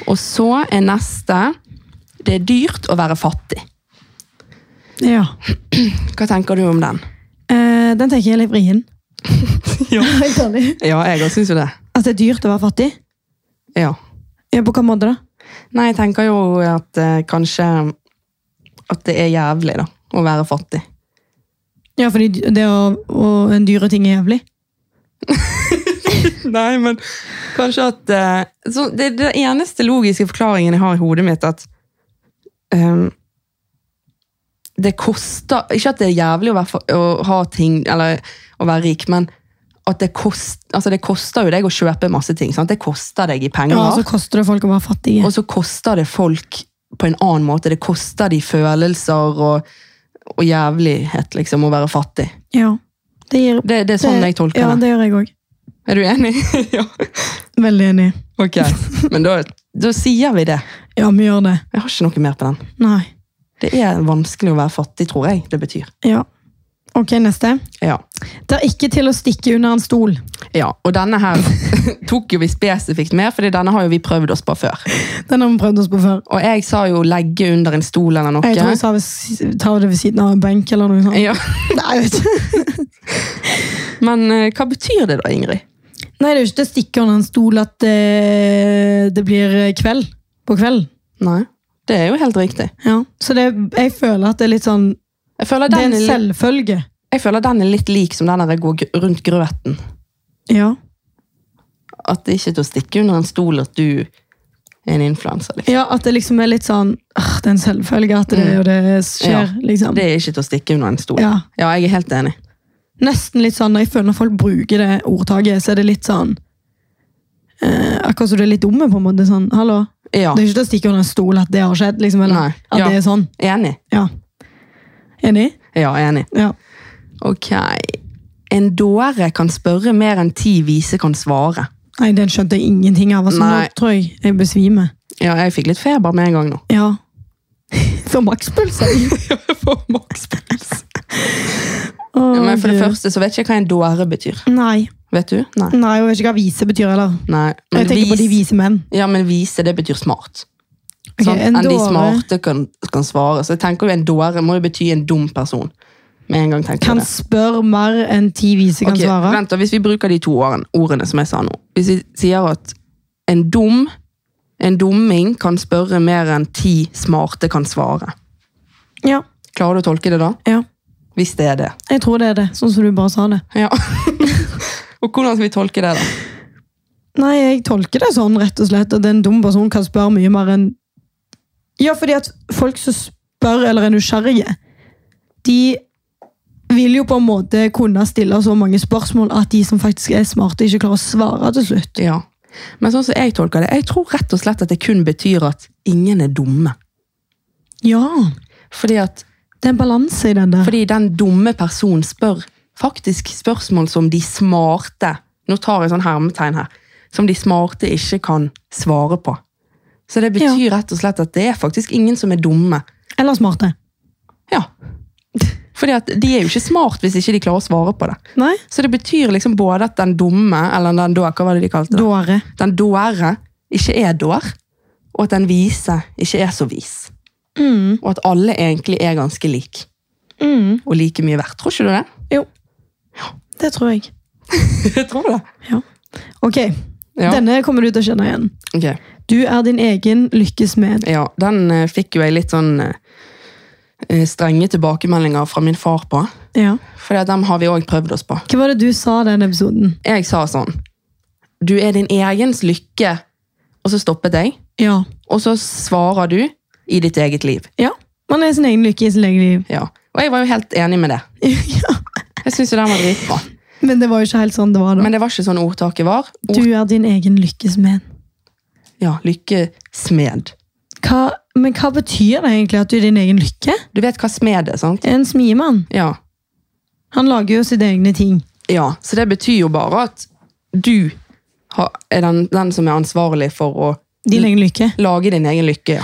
Og så er neste Det er dyrt å være fattig.
Ja.
Hva tenker du om den?
Eh, den tenker jeg er litt vrien.
(laughs) Ja.
(laughs) Helt ærlig.
Ja, jeg òg syns jo det.
At det er dyrt å være fattig?
Ja.
Ja, På hvilken måte da?
Nei, jeg tenker jo at eh, kanskje at det er jævlig da, å være fattig.
Ja, fordi dy- det å, å en dyre ting er jævlig.
Nei, men kanskje at eh, så Det er den eneste logiske forklaringen jeg har i hodet mitt, at ehm, det koster Ikke at det er jævlig å, være, fa- å ha ting, eller å være rik, men at det, kost, altså det koster jo deg å kjøpe masse ting. Sant? Det koster deg i penger.
Ja, altså- Så koster det folk å være fattige.
Og så koster det folk på en annen måte. Det koster de følelser og, og jævlighet, liksom, å være fattig.
Ja. Det, gir,
Det, det er sånn jeg tolker
ja,
det.
det gjør jeg òg.
Er du enig? (laughs) ja.
Veldig enig.
Ok. (laughs) Men da, da sier vi det.
Ja, vi gjør det.
Jeg har ikke noe mer på den.
Nei.
Det er vanskelig å være fattig, tror jeg det betyr.
Ja. Ok, neste.
Ja.
Det er ikke til å stikke under en stol.
ja. Og denne her (laughs) tok jo vi spesifikt med, fordi denne har jo vi prøvd oss på før.
Den har vi prøvd oss på før.
Og jeg sa jo legge under en stol eller noe.
Jeg tror jeg sa ved si- ta det ved siden av en benk eller noe sånt.
ja.
Nei, jeg vet ikke.
Men eh, hva betyr det da, Ingrid?
Nei, det er jo ikke til å stikke under en stol at eh, det, det blir kveld på kveld.
Nei. Det er jo helt riktig.
Ja. Så det, jeg føler at det er litt sånn
Jeg føler
Det er
den,
en
er litt-
selvfølge.
Jeg føler den er litt lik som den der går gr- rundt grøten.
Ja.
At det ikke er til å stikke under en stol at du en influenser. Liksom.
Ja, At det liksom er litt sånn «Åh, Det er en selvfølge at det og Mm. det skjer.
Ja,
liksom.
Det er ikke til å stikke under en stol.
Ja.
ja jeg er helt enig.
Nesten litt sånn, Når jeg føler når folk bruker det ordtaket, så er det litt sånn eh, Akkurat som du er litt dumme, på en måte. sånn, hallo.
Ja,
Det er ikke til å stikke under en stol at det har skjedd. liksom, eller
Nei,
At
ja.
det er sånn.
enig.
Ja. Enig?
Ja, enig.
Ja.
Ok. En dåre kan spørre mer enn ti vise kan svare.
Nei, den skjønte jeg ingenting av. Altså,
Nei.
nå tror jeg jeg besvimer.
Ja, jeg fikk litt feber med en gang nå.
Ja. (laughs) For
(laughs)
makspuls, jeg.
For makspuls.
Å,
Men for det
Gud.
første så vet ikke jeg hva en dåre betyr.
Nei.
Vet du? Nei.
Nei, og jeg vet ikke hva vise betyr heller.
Nei.
Jeg tenker på de
vis-
vise menn.
Ja, men vise, det betyr smart.
Ok,
sant?
en
Enn de
dåre.
smarte kan, kan svare. Så jeg tenker jo en dåre må jo bety en dum person. Med en gang tenker
Kan
jeg det.
spørre mer enn ti vise kan
Ok,
svare.
Vent, da, hvis vi bruker de to ordene, ordene som jeg sa nå. Hvis vi sier at en dum, en dumming kan spørre mer enn ti smarte kan svare.
Ja,
Klarer du å tolke det da?
ja.
Hvis det er det.
Jeg tror det er det, sånn som du bare sa det.
Ja. (laughs) Og hvordan skal vi tolke det da?
Nei, jeg tolker det sånn, rett og slett, at en dum person kan spørre mye mer enn Ja, fordi at folk som spør eller er nysgjerrige, de vil jo på en måte kunne stille så mange spørsmål at de som faktisk er smarte, ikke klarer å svare til slutt.
Ja. Men sånn som jeg tolker det, jeg tror rett og slett at det kun betyr at ingen er dumme.
Ja,
Fordi at
det er en balanse i den der.
Fordi den dumme personen spør faktisk spørsmål som de smarte Nå tar jeg sånn hermetegn her. Som de smarte ikke kan svare på. Så det betyr rett og slett at det er faktisk ingen som er dumme.
Eller smarte.
Ja. Fordi at de er jo ikke smart hvis ikke de klarer å svare på det.
Nei?
Så det betyr liksom både at den dumme, eller den dår, hva var det de kalte det?
Dåre.
Den dåre ikke er dår, og at den vise ikke er så vis.
Mm.
Og at alle egentlig er ganske lik,
Mm.
og like mye verdt. Tror ikke du det?
Jo. Det tror jeg.
(laughs) Jeg tror det.
Ok,
Ja.
denne kommer du til å kjenne igjen.
Ok.
Du er din egen lykkes med.
Ja, den eh, fikk jo jeg litt sånn eh, strenge tilbakemeldinger fra min far på.
Ja.
For dem har vi òg prøvd oss på.
Hva var det du sa i den episoden?
Jeg sa sånn Du er din egens lykke. Og så stoppet jeg.
Ja.
Og så svarer du i ditt eget liv.
ja. Man er sin egen lykke i sin egen liv. (laughs)
Ja. Og jeg var jo helt enig med det.
ja.
Jeg synes jo den var dritbra.
Men det var jo ikke helt sånn det var da.
Men det var ikke sånn ordtaket var.
Du
Ord,
er din egen lykkes med.
ja, lykkesmed.
Hva, men hva betyr det egentlig at du er din egen lykke?
Du vet hva smed er, sant?
En smiemann.
Ja.
Han lager jo sine egne ting.
Ja, så det betyr jo bare at du har, er den, den som er ansvarlig for å
Din egen lykke.
lage din egen lykke. Ja.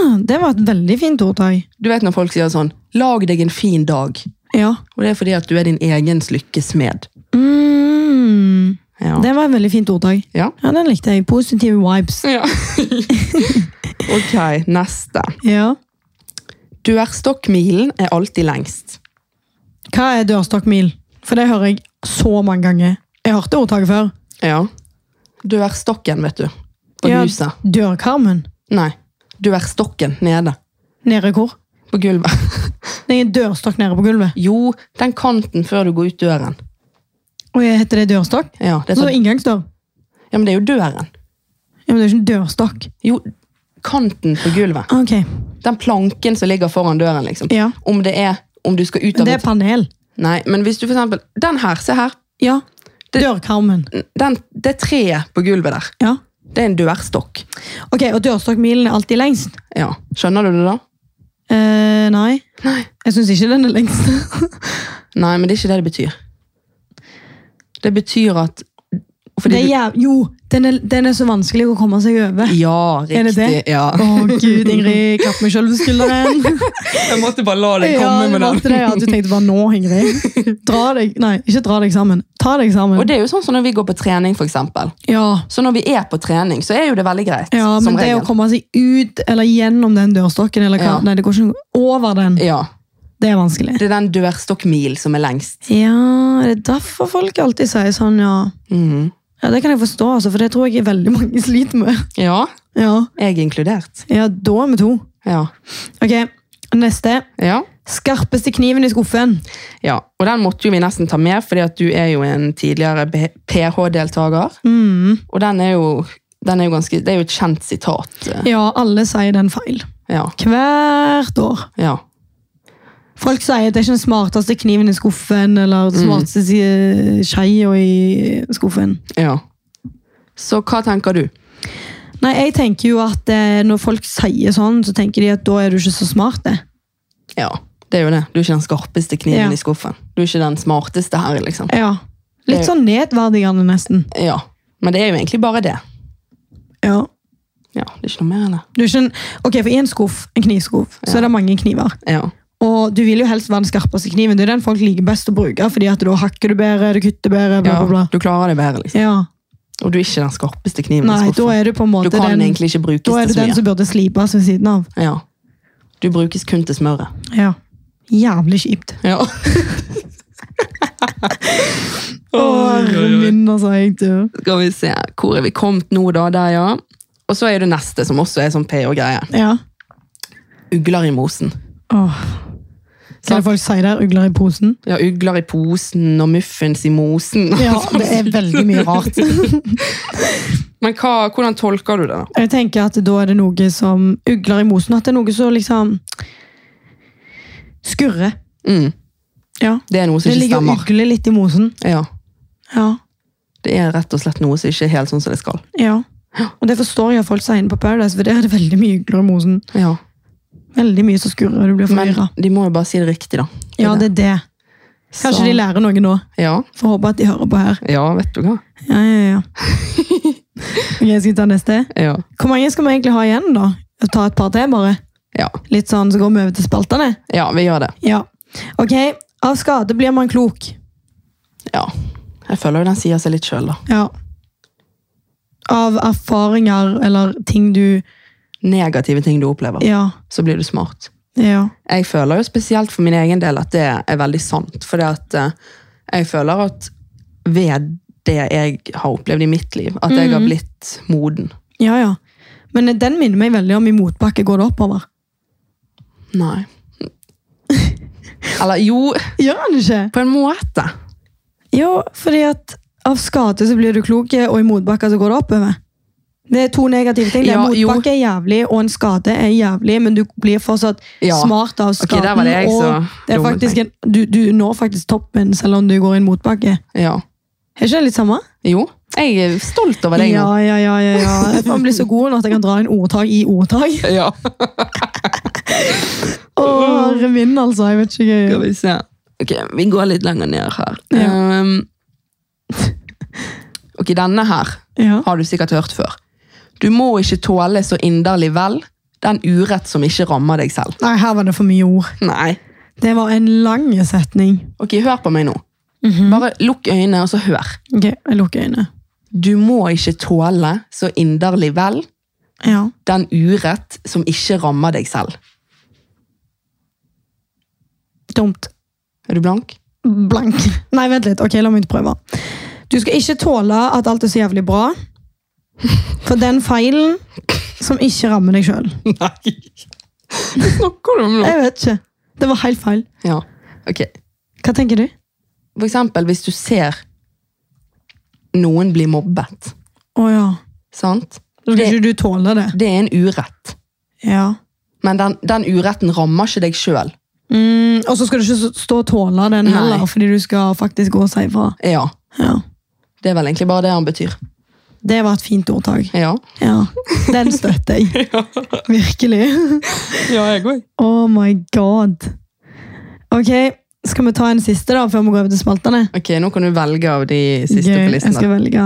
Ah, det var et veldig fint ordtak.
Du vet når folk sier sånn 'lag deg en fin dag',
Ja.
og det er fordi at du er din egens lykkes smed.
Mm.
Ja.
Det var et veldig fint ordtak.
Ja.
Ja, den likte jeg. Positive vibes.
ja. (laughs) ok, neste.
Ja.
Dørstokkmilen er alltid lengst.
Hva er dørstokkmil? For det hører jeg så mange ganger. Jeg hørte ordtaket før.
Ja. Dørstokken, vet du. På
Ja,
huset.
Dørkarmen.
Nei. Dørstokken nede.
Nede hvor?
På gulvet. (laughs)
Det er en dørstokk nede på gulvet.
Jo, den kanten før du går ut døren.
Og jeg heter det dørstokk?
Ja, det er,
Så
sånn,
inngangsdør.
ja, men det er jo døren.
Ja, men det er ikke en dørstokk.
Jo, kanten på gulvet.
Ok,
Den planken som ligger foran døren, liksom.
ja.
Om det er om du skal ut
Men
av
det er
et
panel.
Nei, men hvis du for eksempel Den her, se her.
Ja.
Det-
Dørkarmen.
Den, det treet på gulvet der.
Ja.
Det er en dørstokk.
Ok, og dørstokkmilen er alltid lengst?
Ja. Skjønner du det, da?
Eh, nei. Jeg syns ikke den er lengst.
Nei, men det er ikke det det betyr. Det betyr at fordi
Det er jæv... Jo, den er, den er så vanskelig å komme seg over.
du, Ja, riktig.
Er det det?
Ja.
Å gud, Ingrid, klapp meg sjøl
(laughs)
på skulderen.
Jeg måtte bare la (laughs)
du måtte det, ja. Du tenkte bare nå, Ingrid. Dra deg, nei, ikke dra deg sammen. Ta deg sammen.
Og det er jo sånn som når vi går på trening, for eksempel.
ja.
Så når vi er på trening, så er jo det veldig greit.
ja, men
som
det
regel.
å komme seg ut eller gjennom den dørstokken, eller
Ja.
hva, nei, det går ikke over den,
Ja.
det er vanskelig.
Det er den dørstokkmil som er lengst.
Ja, det er derfor folk alltid sier sånn, ja.
Mhm.
Ja, Det kan jeg forstå, altså, for det tror jeg veldig mange (laughs) sliter med.
Ja.
Ja,
Jeg inkludert.
ja da er vi to.
Ja.
Ok, neste.
ja.
Skarpeste kniven i skuffen.
Ja, og den måtte jo vi nesten ta med, fordi at du er jo en tidligere B- PH-deltaker.
Mm.
Og den er jo den er jo ganske, det er jo et kjent sitat. eh,
Ja, alle sier den feil.
Ja.
Hvert år.
ja.
Folk sier at det er ikke den smarteste kniven i skuffen, eller den smarteste mm. skeia i skuffen.
ja. Så hva tenker du?
Nei, jeg tenker jo at eh, når folk sier sånn, så tenker de at da er du ikke så smart, det.
Ja, det er jo det. Du er ikke den skarpeste kniven
Ja.
i skuffen. Du er ikke den smarteste her, liksom.
Ja. Litt sånn nedverdigende, nesten.
Ja, men det er jo egentlig bare det.
Ja.
Ja, det er ikke noe mer enn det.
Du er ikke en, ok, for i en skuff, en knivskuff, så er det mange kniver.
Ja,
Og du vil jo helst være den skarpeste kniven. Det er den folk liker best å bruke, fordi at da hakker du bedre, du kutter bedre, bla,
ja
bla, bla.
du klarer det bedre, liksom.
Ja.
Og du er ikke den skarpeste kniven
Nei,
i
da
skuffen.
er du på en
Du
måte
kan
den,
egentlig ikke brukes
da er
til
du
så
den
mye.
som burde slipes ved siden av.
Ja. Du brukes kun til smøret.
Ja. Jævlig kjipt.
Ja.
Åh, min, altså, jeg dør.
(laughs) Skal vi se, hvor er vi kommet nå da, der ja. Og så er det neste, som også er sånn PH-greie.
Ja.
Ugler i mosen.
Åh. Hva er det folk sier der? Ugler i posen?
Ja, ugler i posen og muffins i mosen. Sånn.
Ja, det er
(laughs)
veldig mye rart. (laughs)
Men hva, hvordan tolker du det da?
Jeg tenker at da er det noe som ugler i mosen, at det er noe som liksom skurrer.
Mm.
Ja.
Det er noe som
Det
ikke
ligger og
stemmer.
ugler litt i mosen.
Ja,
Ja.
det er rett og slett noe som ikke er helt sånn som det skal.
ja. Og det forstår jeg at folk sier inne på Paradise, for der er det veldig mye ugler i mosen.
Ja,
Veldig mye som skurrer, og du blir
Men
forvirra.
de må jo bare si det riktig, da.
Ja, det er det.
Så-
Kanskje de lærer noe nå.
ja.
Får håpe at de hører på her.
ja, vet du hva?
Ja, ja,
(laughs)
ja. Ok, skal vi ta neste?
Ja.
Hvor mange skal vi egentlig ha igjen, da? Ta et par til, bare?
Ja.
Litt sånn, så går vi over til spaltene?
ja, vi gjør det.
Ja. Ok, av skade blir man klok.
Ja. Jeg føler jo den sier seg litt sjøl, da.
Ja. Av erfaringer eller ting du
Negative ting du opplever,
Ja.
så blir du smart.
Ja.
Jeg føler jo spesielt for min egen del at det er veldig sant. For at eh, jeg føler at ved det jeg har opplevd i mitt liv, at jeg har blitt moden.
ja, ja. Men den minner meg veldig om i motbakke går det oppover.
Nei. Eller jo,
Gjør han ikke?
på en måte.
Jo, fordi at av skade så blir du klok, eh, og i motbakke så går det oppover. Det er to negative ting. Det er
Ja, jo.
motbakke er jævlig, og en skade er jævlig, men du blir fortsatt
Ja.
smart av skaden.
der var det jeg som
og det er
dummet
faktisk en, du, du når faktisk toppen selv om du går i en motbakke.
Ja.
Er ikke det litt samme?
Jo. Jeg er stolt over deg nå.
Ja, ja, ja, ja, ja. Jeg får bli så god nå at jeg kan dra inn ordtak i ordtak.
Ja.
Å, herre min, altså. Jeg vet ikke.
Skal
hva jeg-
vi se. Ok, vi går litt lenger ned her.
Ja.
Um, ok, denne her
Ja.
har du sikkert hørt før. Du må ikke tåle så inderlig vel den urett som ikke rammer deg selv.
Nei, her var det for mye ord.
Nei.
Det var en lang setning.
Ok, hør på meg nå. Bare lukk øynene og så hør.
Ok, jeg lukker øynene.
Du må ikke tåle så inderlig vel
Ja.
den urett som ikke rammer deg selv.
Dumt.
Er du blank?
Blank. (laughs) Nei, vent litt. Ok, la meg prøve. Du skal ikke tåle at alt er så jævlig bra. For den feilen som ikke rammer deg sjøl.
Nei. Hva snakker du om (laughs) nå?
Jeg vet ikke. Det var helt feil.
Ja, ok.
Hva tenker du?
For eksempel hvis du ser noen bli mobbet,
Å ja.
sant?
Så skal ikke du tåle det.
Det er en urett.
Ja.
Men den, den uretten rammer ikke deg sjøl.
Mm, og så skal du ikke s- stå og tåle den heller,
Nei.
fordi du skal faktisk gå og si ifra.
Ja,
Ja.
det er vel egentlig bare det han betyr.
Det var et fint ordtak.
Ja,
Ja, den støtter jeg. (laughs) Virkelig.
jeg òg.
Oh my god. Ok, skal vi ta en siste da, før vi går over til spaltene?
Ok, nå kan du velge av de siste
Gøy,
på
jeg
listen.
skal
da.
velge.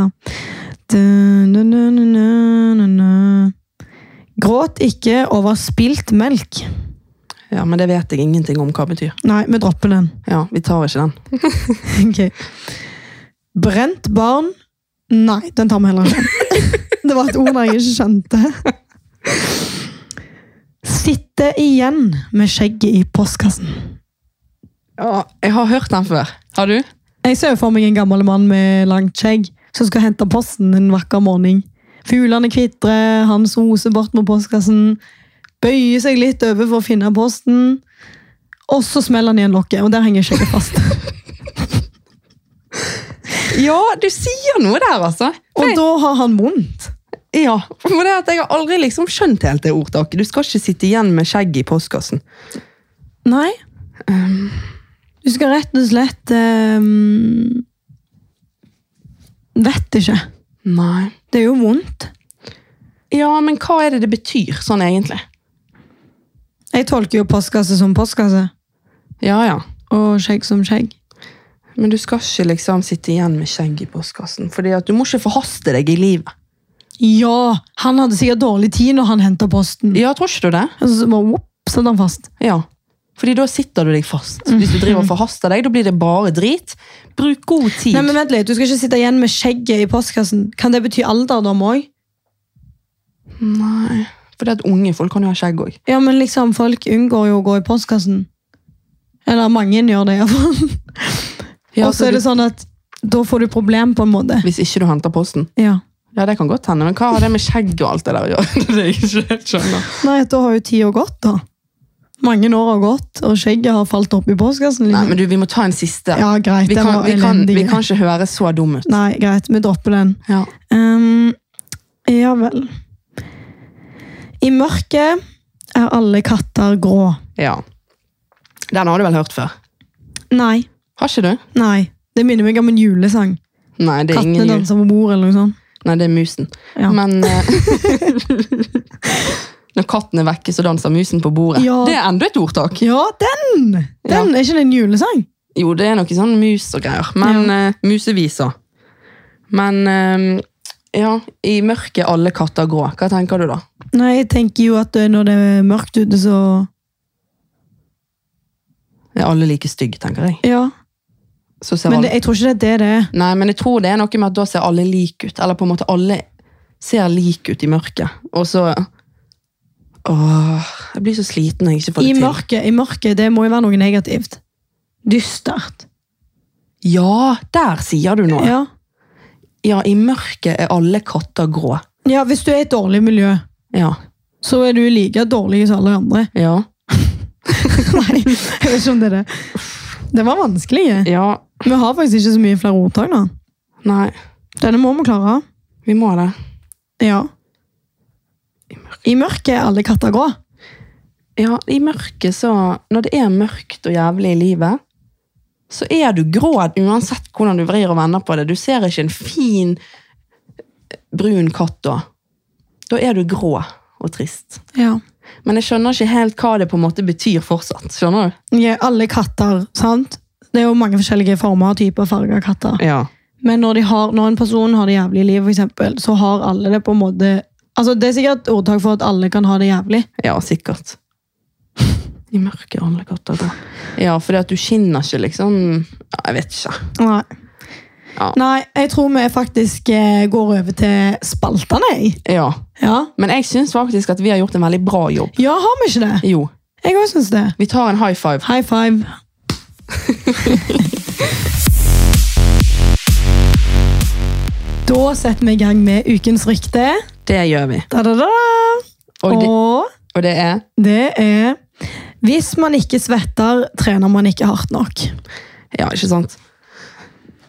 Du-nu-nu-nu-nu-nu. Gråt ikke over spilt melk.
Ja, Men det vet jeg ingenting om hva betyr.
Nei, vi dropper den. (laughs)
Ja, Vi tar ikke den.
Ok. Brent barn. Nei, den tar vi heller ikke. (laughs) Det var et ord jeg ikke skjønte. Sitte igjen med skjegget i postkassen.
Ja, Jeg har hørt den før. Har du?
Jeg ser jo for meg en gammel mann med langt skjegg som skal hente posten en vakker morgen. Fuglene kvitrer, han soser bort mot postkassen, bøyer seg litt over for å finne posten, og så smeller han igjen lokket, og der henger skjegget (laughs) fast.
Ja, du sier noe der, altså.
Og da har han vondt.
Ja, for det er at jeg har aldri liksom skjønt helt det ordtaket. Du skal ikke sitte igjen med skjegg i postkassen.
Nei. Um, Du skal rett og slett ehm, Vet ikke.
Nei.
Det er jo vondt.
Ja, men hva er det det betyr sånn egentlig?
Jeg tolker jo postkasse som postkasse,
Ja, ja.
og skjegg som skjegg.
Men du skal ikke liksom sitte igjen med skjegg i postkassen, fordi at du må ikke forhaste deg i livet.
Ja! Han hadde sikkert dårlig tid når han henta posten.
Ja, tror ikke du det?
Og så bare whoop, satt han fast.
Ja. Fordi da sitter du deg fast. Hvis du driver og forhaster deg, da blir det bare drit. Bruk god tid.
Nei, men vent litt, Du skal ikke sitte igjen med skjegget i postkassen. Kan det bety alderdom òg?
Nei. Fordi at unge folk kan jo ha skjegg òg.
Ja, men liksom, folk unngår jo å gå i postkassen. Eller mange gjør det, iallfall.
Ja,
og så er det sånn at da får du problem, på en måte.
Hvis ikke du henter posten.
Ja.
Ja, det kan godt hende, men hva har det med skjegg og alt det der å gjøre? (laughs) Det er det jeg ikke helt skjønner.
Nei, da har jo tida gått, da. Mange år har gått, og skjegget har falt opp i postkassen.
Nei,
Liksom.
men du, vi må ta en siste.
ja, greit,
vi,
den
kan,
var
vi, kan,
elendig.
vi kan ikke høre så dum ut.
Nei, greit, vi dropper den.
Ja.
Ehm, ja vel. I mørket er alle katter grå.
ja. Den har du vel hørt før?
Nei.
Har ikke du?
Nei. Det minner meg om en julesang.
Nei, det er,
Kattene
ingen, jul.
danser på bordet, eller noe sånt.
Nei, det er musen.
Ja.
Men (laughs) eh, Når katten er vekke, så danser musen på bordet.
Ja.
Det er enda et ordtak.
Ja, den! Den Er ikke det en julesang?
Jo, det er noe sånn mus og greier. Men eh, museviser. Men eh, ja, i mørket er alle katter grå. Hva tenker du da?
Nei, jeg tenker jo at eh, når det er mørkt ute, så
Er alle like stygge, tenker jeg.
Ja.
Så ser
Men
alle...
det, jeg tror ikke det er det det er.
Nei, men jeg tror det er noe med at da ser alle like ut. Eller på en måte alle ser like ut i mørket. Og så Åh, jeg blir så sliten når jeg ikke får det
I
til.
mørket, I mørket, det må jo være noe negativt. Dystert.
Ja, der sier du noe. Ja.
Ja.
i mørket er alle katter grå.
ja, hvis du er i et dårlig miljø,
Ja.
så er du like dårlig som alle andre.
Ja.
Nei, jeg vet ikke om det er det. Det var vanskelig. jeg.
ja.
Vi har faktisk ikke så mye flere ordtak nå.
Nei,
Denne må vi klare.
vi må det.
Ja. I mørket er alle katter grå.
Ja, i mørket så Når det er mørkt og jævlig i livet, så er du grå uansett hvordan du vrir og vender på det. Du ser ikke en fin, eh, brun katt da. Da er du grå og trist.
Ja.
Men jeg skjønner ikke helt hva det på en måte betyr fortsatt. Skjønner du?
alle katter, sant? Det er jo mange forskjellige former og typer og farger av katter.
Ja.
Men når, de har, når en person har det jævlig i livet, for eksempel, så har alle det på en måte Altså, Det er sikkert ordtak for at alle kan ha det jævlig.
Ja, sikkert. I mørket er alle katter grå. Ja, fordi at du skinner ikke, liksom. Ja, jeg vet ikke.
Nei.
Ja.
Nei, jeg tror vi faktisk eh, går over til spaltene. jeg.
Ja.
Ja.
Men jeg syns faktisk at vi har gjort en veldig bra jobb.
ja, har vi ikke det?
Jo.
Jeg òg syns det.
Vi tar en high five.
High five. (laughs) da setter vi i gang med ukens rykte.
Det gjør vi.
Da, da, da, da.
Og det,
Og
og det er
det er Hvis man ikke svetter, trener man ikke hardt nok.
Ja, ikke sant?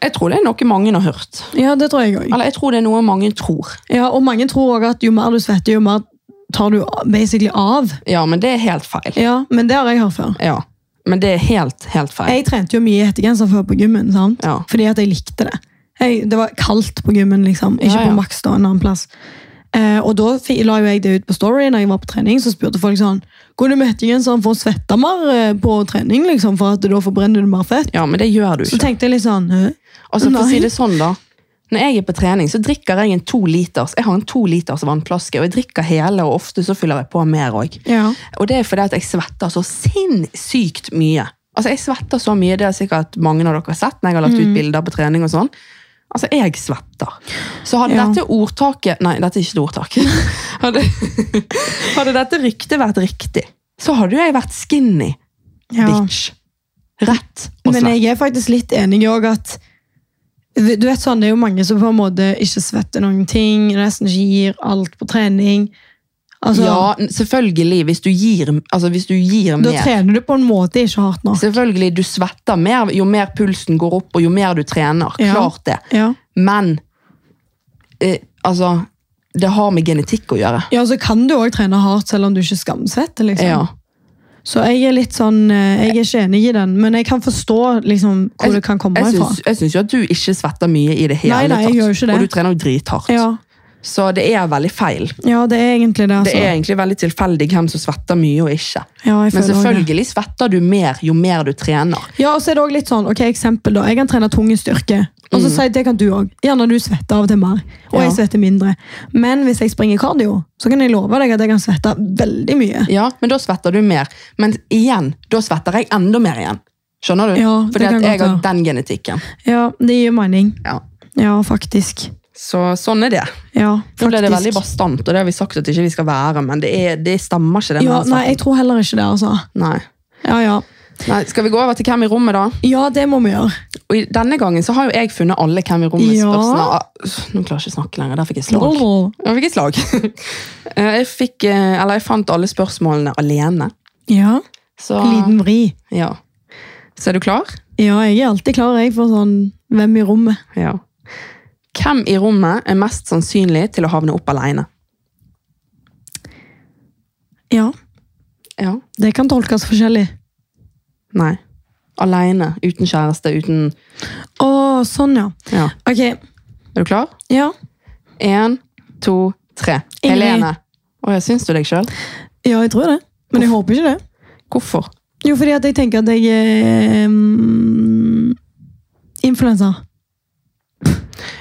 Jeg tror det er noe mange har hørt.
Ja, det tror jeg òg.
Eller jeg tror det er noe mange tror.
Ja, og mange tror òg at jo mer du svetter, jo mer tar du basically av.
Ja, men det er helt feil.
Ja, Men det har jeg hørt før.
Ja, men det er helt, helt feil.
Jeg trente jo mye i hettegenser før på gymmen, sant?
Ja.
fordi at jeg likte det. Jeg, det var kaldt på gymmen, liksom. ikke
Ja, ja.
på maks da, en annen plass. Eh, og da fi- la jo jeg det ut på story når jeg var på trening, så spurte folk sånn Går du med hettegenser for å svette mer eh, på trening, liksom, for at da forbrenner du mer fett?
Ja, men det gjør du
Så
ikke.
tenkte jeg litt sånn «Hæ?
Altså, for å
Nei.
si det sånn da, når jeg er på trening, så drikker jeg en to liters, jeg har en to liters vannflaske, og jeg drikker hele, og ofte så fyller jeg på mer også.
Ja.
Og det er fordi at jeg svetter så sinnssykt mye. Altså, jeg svetter så mye, det har sikkert mange av dere har sett når jeg har lagt ut
Mm.
bilder på trening og sånn. Altså, jeg svetter. Så hadde
Ja.
dette ordtaket Nei, dette er ikke et ordtak. (laughs) Hadde, hadde dette ryktet vært riktig, så hadde jo jeg vært skinny
ja.
sånn, bitch. Rett altså. og
Men
slett.
jeg er faktisk litt enig i òg at du vet sånn, Det er jo mange som på en måte ikke svetter noen ting, nesten ikke gir alt på trening. Altså,
ja, n- selvfølgelig. Hvis du gir, altså, hvis du gir
Da
mer.
trener du på en måte ikke hardt nok.
Selvfølgelig, du svetter mer jo mer pulsen går opp, og jo mer du trener.
Ja.
Klart det.
Ja.
Men eh, altså det har med genetikk å gjøre.
Ja, så kan du òg trene hardt selv om du ikke skamsetter. liksom.
Ja.
Så jeg er litt sånn, eh, jeg er ikke enig i den, men jeg kan forstå liksom, hvor det kan komme
Jeg
ifra.
syns- Jeg syns jo at du ikke svetter mye i det hele
Nei, nei, jeg
tatt.
gjør jo ikke det.
Og du trener jo drithardt.
Ja,
Så det er veldig feil.
ja, det er egentlig det. altså.
Det er egentlig veldig tilfeldig hvem som svetter mye og ikke.
ja, jeg
Men
føler også det.
selvfølgelig svetter du mer jo mer du trener.
Ja, og så er det også litt sånn, ok, eksempel da, jeg kan trene tung styrke, og så sier jeg, det kan du også. Gjerne du svetter av og til mer,
Mm.
og
Ja.
jeg svetter mindre. Men hvis jeg springer kardio, så kan jeg love deg at jeg kan svette veldig mye.
Ja, men da svetter du mer. Men igjen, da svetter jeg enda mer igjen. Skjønner du?
Ja, det
Fordi
kan
at
godt
jeg har
være.
den genetikken.
Ja, det gir mening.
Ja.
Ja, faktisk.
Så sånn er det.
Ja,
Da ble det veldig
faktisk.
bastant, og det har vi sagt at ikke vi skal være, men det, er, det stemmer ikke. denne
Ja,
saken.
nei, jeg tror heller ikke det, altså.
nei.
Ja, ja.
Nei, skal vi gå over til hvem i rommet, da?
Ja, det må vi gjøre.
Og i denne gangen så har jo jeg funnet alle hvem i rommet
Ja.
spørsmål. Ah, Nå klarer jeg ikke å snakke lenger, der fikk jeg slag. Jeg fikk et slag. (laughs) Eh, jeg fikk, eh, eller jeg fant alle spørsmålene alene.
Ja,
Så,
liten vri.
ja. Så er du klar?
Ja, jeg er alltid klar, jeg, for sånn, hvem i rommet?
Ja. Hvem i rommet er mest sannsynlig til å havne opp alene?
Ja,
Ja.
det kan tolkes forskjellig.
Nei. Alene, uten kjæreste, uten...
Åh, sånn, ja.
Ja.
Ok,
Er du klar?
ja.
En, to, tre.
Ingrid.
Helene. Åja, syns du deg sjøl?
Ja, jeg tror det. Men jeg håper ikke det.
Hvorfor?
Jo, fordi at jeg tenker at jeg er um, influenser.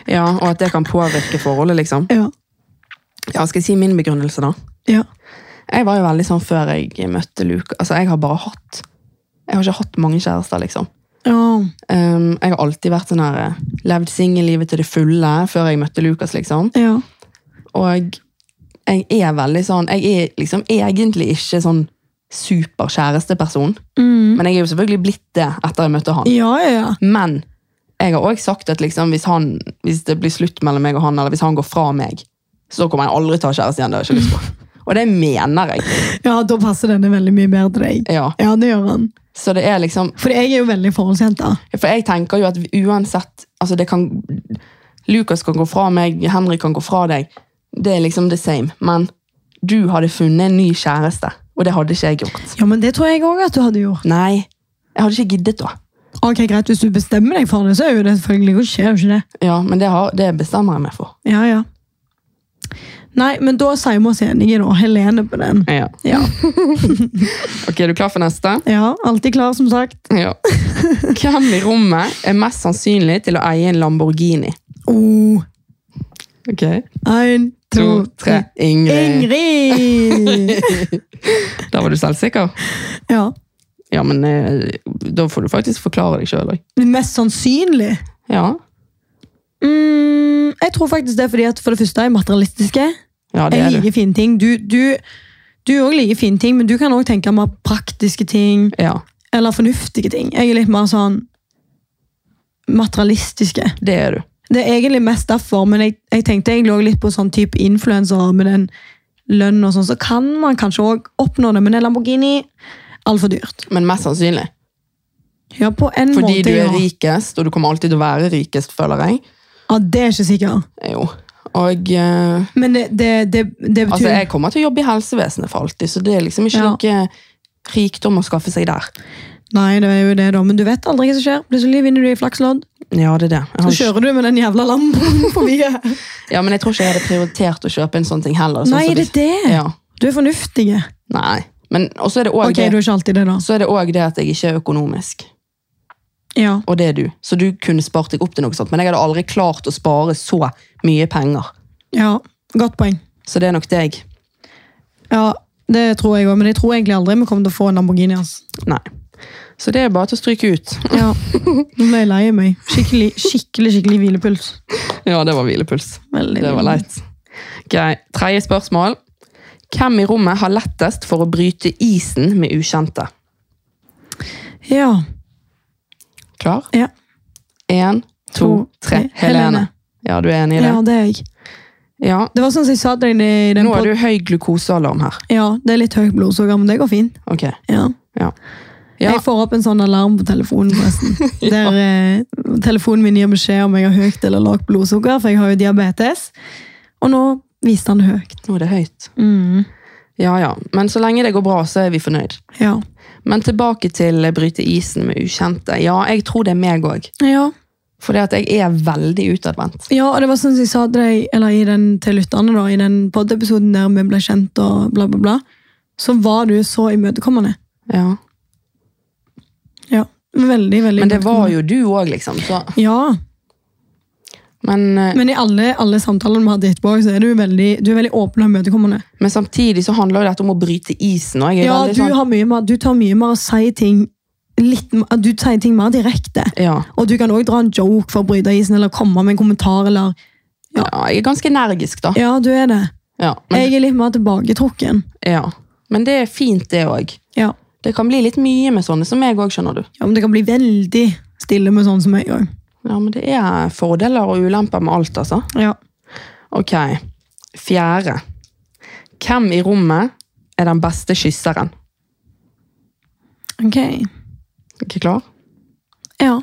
Ja, Og at det kan påvirke forholdet, liksom.
Ja.
Ja, Skal jeg si min begrunnelse, da?
ja.
Jeg var jo veldig sånn før jeg møtte Luke. Altså, jeg har bare hatt Jeg har ikke hatt mange kjærester, liksom.
Ja.
Um, jeg har alltid vært sånn her eh, Levd singellivet til det fulle før jeg møtte Lukas, liksom.
ja.
Og jeg er veldig sånn Jeg er liksom egentlig ikke sånn superkjæresteperson.
Mm.
Men jeg er jo selvfølgelig blitt det etter jeg møtte han.
Ja, ja, ja.
Men jeg har også sagt at liksom, hvis, han, hvis det blir slutt mellom meg og han, eller hvis han går fra meg, så kommer jeg aldri ta kjæreste igjen. Det har jeg ikke lyst
(laughs)
på. Og det mener jeg.
Ja, da passer denne veldig mye mer til deg.
Ja.
Ja, det gjør han.
Så det er liksom,
For jeg er jo veldig forholdsjente.
for jeg tenker jo at uansett altså det kan, Lukas kan gå fra meg, Henrik kan gå fra deg. Det er liksom the same. Men du hadde funnet en ny kjæreste, og det hadde ikke jeg gjort.
Ja, men det tror jeg også at du hadde gjort.
Nei, jeg hadde ikke giddet da.
Ok, greit, hvis du bestemmer deg for det, så er jo det selvfølgelig det skjer jo ikke det.
Ja, Men det, har, det bestemmer jeg meg for.
Ja, ja. Nei, men da sier vi oss enige nå. Helene på den.
Ja.
Ja.
Ok, Er du klar for neste?
ja, alltid klar, som sagt.
Ja. (laughs) Hvem i rommet er mest sannsynlig til å eie en Lamborghini?
Oh,
Ok.
en,
To,
to,
tre.
tre.
Ingrid. (laughs)
Ingrid!
Da var du selvsikker.
ja.
Ja, men eh, da får du faktisk forklare deg sjøl òg.
Men Mest sannsynlig?
Ja.
Mm, jeg tror faktisk det er fordi at for det første er jeg materialistiske.
ja, det
Jeg
er du.
liker fine ting. Du, du, du også liker fine ting, men du kan også tenke mer praktiske ting
Ja,
eller fornuftige ting. Jeg er litt mer sånn materialistiske.
det er du.
Det er egentlig mest derfor, men jeg, jeg tenkte egentlig også litt på sånn type influensere med den lønnen og sånn, så kan man kanskje også oppnå det, men en Lamborghini altfor dyrt.
Men mest sannsynlig.
Ja, på en
Fordi
måte,
du er
ja.
rikest, og du kommer alltid til å være rikest, føler jeg. Eh,
Ja, det er jeg ikke sikkert.
Jo. Og eh,
Men det, det, det, det betyr...
altså, jeg kommer til å jobbe i helsevesenet for alltid, så det er liksom ikke
Ja.
noe rikdom å skaffe seg der.
Nei, det er jo det da, men du vet aldri hva som skjer. Plutselig vinner du i flakslodd,
Ja, det er det. Jeg
så
har ikke,
kjører du med den jævla lampen forbi.
ja, men jeg tror ikke jeg hadde prioritert å kjøpe en sånn ting heller. Sånn
Nei,
som
det er det.
Ja.
Du er fornuftig.
Nei. Men og så er det òg
Ok, du er ikke alltid det da.
det, det at jeg ikke er økonomisk.
Ja,
Og det er du. Så du kunne spart deg opp til noe sånt. Men jeg hadde aldri klart å spare så mye penger.
ja. Godt poeng.
Så det er nok deg.
Ja, det tror jeg også, men jeg tror egentlig aldri vi kommer til å få en Lamborghini, altså. ass.
Nei. Så det er bare til å stryke ut.
(laughs) Ja, nå ble jeg lei meg. Skikkelig, skikkelig, skikkelig hvilepuls.
Ja, det var hvilepuls.
Veldig
Det var leit. Grei. Tredje spørsmål. Hvem i rommet har lettest for å bryte isen med ukjente?
Ja.
Klar?
Ja.
Én, to,
To,
tre.
tre.
Helene.
Helene.
Ja, du er enig i det?
ja, det er jeg.
Ja.
Det var sånn som jeg sa til deg i den
Nå er
podden.
du høy glukosealarm her.
Ja, det er litt høyt blodsukker, men det går fint.
Ok.
Ja.
Ja. Ja.
Jeg får opp en sånn alarm på telefonen, forresten.
(laughs)
Der eh, telefonen min gir beskjed om jeg har høyt eller lavt blodsukker, for jeg har jo diabetes. Og nå Viste han høyt.
Nå er det høyt. Mm. Ja, ja. Men så lenge det går bra, så er vi fornøyd.
Ja.
Men tilbake til eh, bryte isen med ukjente. Ja, jeg tror det er meg òg.
ja.
For jeg er veldig utadvendt.
Ja, og det var sånn som jeg sa til deg, eller i den til lytterne da, i den poddepisoden der vi ble kjent og bla bla bla, så var du så imøtekommende.
Ja.
Ja, veldig, veldig
Men det var
imøtekommende.
jo du òg, liksom. Så.
Ja,
Men, eh,
men i alle, alle samtalene vi hadde etterpå, så er du veldig, du er veldig åpen og imøtekommende.
men samtidig så handler jo dette om å bryte isen. Og jeg er
Ja,
veldig
du,
sånn,
har mye mer, du tar mye mer og sier ting, litt, mer- du sier ting mer direkte.
ja.
Og du kan også dra en joke for å bryte isen, eller komme med en kommentar, eller...
Ja. jeg er ganske energisk, da.
Ja, du er det.
Ja, men,
Jeg er litt mer tilbaketrukken.
ja. men det er fint, det òg.
Ja.
Det kan bli litt mye med sånne som meg òg, skjønner du.
ja, men det kan bli veldig stille med sånn som jeg gjør.
Ja, men det er fordeler og ulemper med alt, altså.
Ja.
Ok, fjerde. Hvem i rommet er den beste kysseren?
Ok.
Ikke klar?
Ja.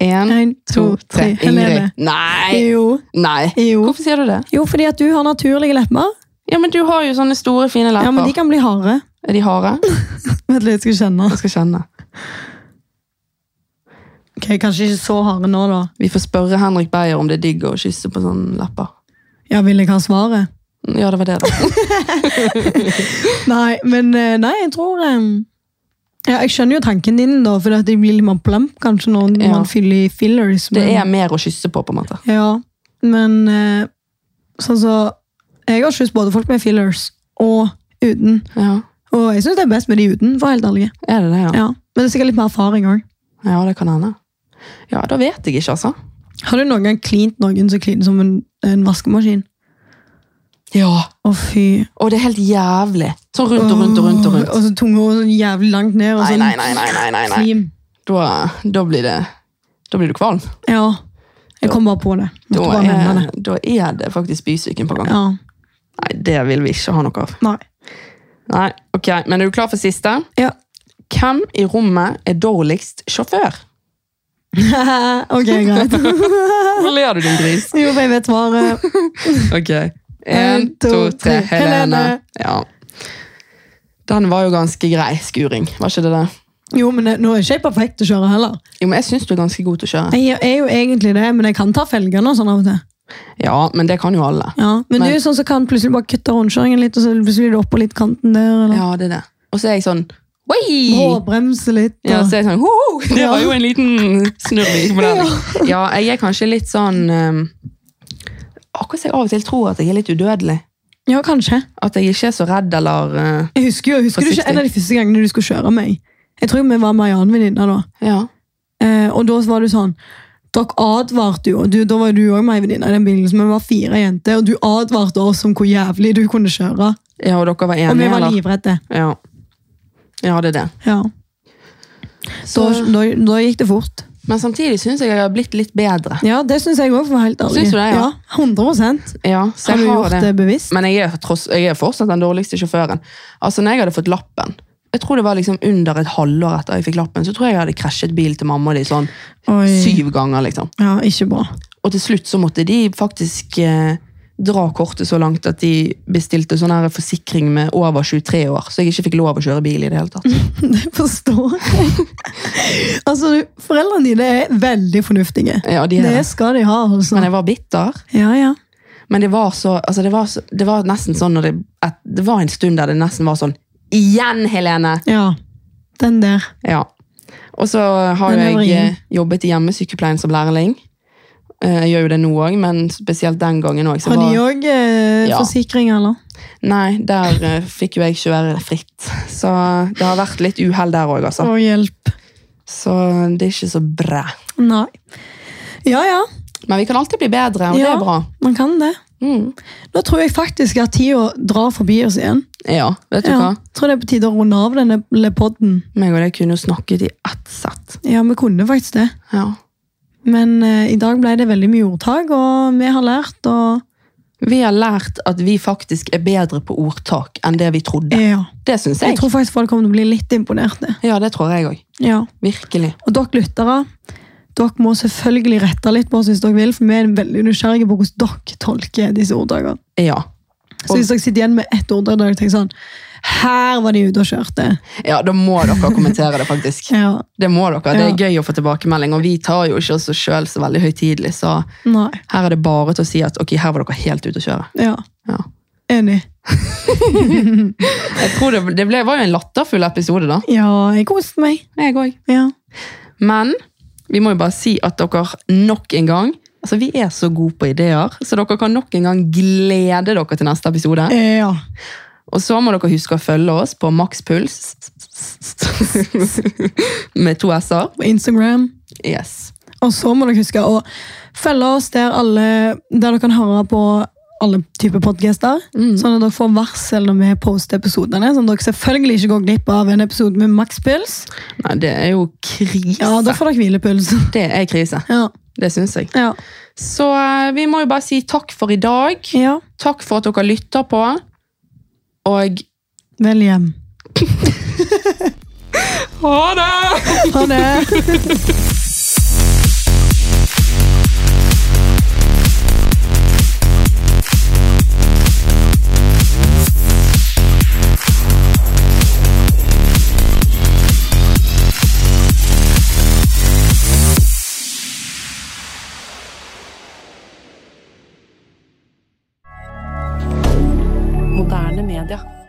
En,
En,
Mm. to, tre. Ingrid.
Helene.
Nei!
Jo.
Nei!
Jo.
Hvorfor sier du det?
jo, fordi at du har naturlige lepper.
Ja, men du har jo sånne store, fine lepper.
Ja, men de kan bli harde.
Er de harde?
Vent litt, jeg skal kjenne.
Jeg skal kjenne.
Ok, Kanskje ikke så harde nå, da.
Vi får spørre Henrik Beyer om det er digg å kysse på sånn sånne lepper.
Ja, Vil jeg ha svaret?
Ja, det var det, da.
Nei, men eh, nei, jeg tror eh, ja, Jeg skjønner jo tanken din, da, for at de blir litt mer plump kanskje når
Ja.
man fyller i fillers.
(laughs) Det
men-
er mer å kysse på, på en måte.
Ja, men eh, sånn så Jeg har kyss både folk med fillers og uten.
Ja,
Og jeg syns det er best med de uten, for å være helt ærlig.
er det det, ja?
Ja. Men det er sikkert litt mer erfaring òg.
Ja, det kan hende. Ja, da vet jeg ikke, altså.
Har du noen gang klint noen som kliner som en, en vaskemaskin?
Ja.
Å, fy.
Og det er helt jævlig. Sånn rundt og rundt og rundt og rundt.
Og så tunga sånn jævlig langt ned. Og
Nei,
sånn
nei, nei, nei, nei, nei, nei.
Klim.
Da, da blir det Da blir du kvalm.
Ja. Jeg kom bare på det.
Da
Måtte bare nevne
er,
det.
da er det faktisk bysyken på gang.
Ja.
Nei, det vil vi ikke ha noe av.
Nei.
Nei, ok, Men er du klar for siste?
(laughs) Ja.
Hvem i rommet er dårligst sjåfør?
ok, greit.
Hvor ler du, din gris?
jo, for jeg vet svaret.
Ok. En, to, tre. Helene. Ja. Den var jo ganske grei skuring, var ikke det det?
Jo, men det- nå er ikke jeg perfekt til å kjøre heller.
Jo, men Jeg syns du er ganske god til å kjøre.
Jeg er jo egentlig det, men jeg kan ta felgene og sånn av og til.
Ja, men det kan jo alle.
Ja,
Men-
men, du er jo sånn som kan plutselig bare kutte rundkjøringen litt, og så plutselig er du oppå litt kanten der, eller
Ja, det er det. Og så er jeg sånn Wei!
bråbremse litt.
(laughs)
Og...
Ja, så er jeg sånn «Hoho!» Det
Ja.
var jo en liten snurrvik på den. Ja, jeg er kanskje litt sånn um, Akkurat som jeg av og til tror at jeg er litt udødelig.
ja, kanskje.
At jeg ikke er så redd eller eh,
Jeg husker jo, husker du ikke
Forsiktig.
en av de første gangene du skulle kjøre meg? Jeg tror vi var Marianne-venninner da.
Ja.
Eh, og da var du sånn Dere advarte jo, og du, da var du òg med ei venninne i den bilen, så vi var fire jenter, og du advarte oss om hvor jævlig du kunne kjøre.
ja, og dere var enige,
Og vi var
eller?
livredde.
Ja. ja, det er det.
Ja. Da,
Så,
da, da gikk det fort.
men samtidig syns jeg jeg har blitt litt bedre.
Ja, det syns jeg òg, for å være helt ærlig.
Syns du det, ja?
100
Ja, så
Har du
jeg
gjort
har det.
det, bevisst?
Men jeg er, tross, jeg er fortsatt den dårligste sjåføren. Altså, når jeg hadde fått lappen, jeg tror det var liksom under et halvår etter jeg fikk lappen, så tror jeg jeg hadde krasjet bil til mamma og de sånn
Oi.
syv ganger, liksom.
Ja, ikke bra. (laughs)
Og til slutt så måtte de faktisk eh, dra kortet så langt at de bestilte sånn her forsikring med over 23 år, så jeg ikke fikk lov å kjøre bil i det hele tatt.
Det forstår (laughs) jeg. altså, du- foreldrene dine er veldig fornuftige.
Ja, de er
Det
det.
skal de ha, altså.
Men jeg var bitter.
Ja, ja.
Men det var så, altså det var, så, det var nesten sånn når det, at det var en stund der det nesten var sånn, igjen Helene!
Ja, den der.
Ja. Og så har
Den er
jo jeg eh,
vrien.
jobbet i hjemmesykepleien som lærling. Eh, Jeg gjør jo det nå òg, men spesielt den gangen òg.
Har de òg eh,
Ja.
forsikring, eller?
Nei, der eh, fikk jo jeg kjøre fritt. Så det har vært litt uhell der òg, altså.
Og hjelp.
Så det er ikke så bra.
Nei. Ja, ja.
Men vi kan alltid bli bedre, og det
Ja.
er bra.
Man kan det.
Mm.
Nå tror jeg faktisk at tida drar forbi oss igjen.
Ja, vet du
Ja,
hva?
tror det er på tide å runde av denne lille podden.
Meg og deg kunne jo snakket i ett sett.
Ja, vi kunne faktisk det.
Ja.
Men eh, i dag ble det veldig mye ordtak, og vi har lært, og
Vi har lært at vi faktisk er bedre på ordtak enn det vi trodde.
ja.
Det syns
Jeg
jeg.
tror faktisk folk kommer til å bli litt imponerte.
Ja, det tror jeg òg.
Ja.
Virkelig.
Og dere lyttere, Dere må selvfølgelig rette litt på oss hvis dere vil, for vi er veldig nysgjerrige på hvordan dere tolker disse ordtakene.
Ja.
Så hvis dere sitter igjen med ett ordtak der dere tenker sånn Her var de ute og kjørte.
ja, da må dere kommentere det, faktisk.
Ja,
Det må dere. Det
Ja.
er gøy å få tilbakemelding, og vi tar jo ikke oss sjøl så veldig høytidelig, så
nei,
her er det bare til å si at ok, her var dere helt ute å kjøre.
ja,
Ja.
enig.
Jeg tror det, det ble, var jo en latterfull episode, da.
Ja, jeg koste meg.
Jeg òg.
Ja.
Men vi må jo bare si at dere nok en gang Altså, Vi er så gode på ideer, så dere kan nok en gang glede dere til neste episode.
Eh, ja.
Og så må dere huske å følge oss på makspuls med to s-er.
På Instagram.
Yes.
Og så må dere huske å følge oss der, alle, der dere kan høre på alle typer podcaster, sånn at dere får varsel når vi poster episoderne, sånn at dere selvfølgelig ikke går glipp av en episode med makspuls.
Nei, det er jo krise.
Ja, da får dere hvilepuls.
Det er krise.
Ja,
Det syns jeg.
ja,
Så eh, vi må jo bare si takk for i dag.
ja.
Takk for at dere lytter på. Og
Vel hjem.
ha det!
Ha det!
Moderne media.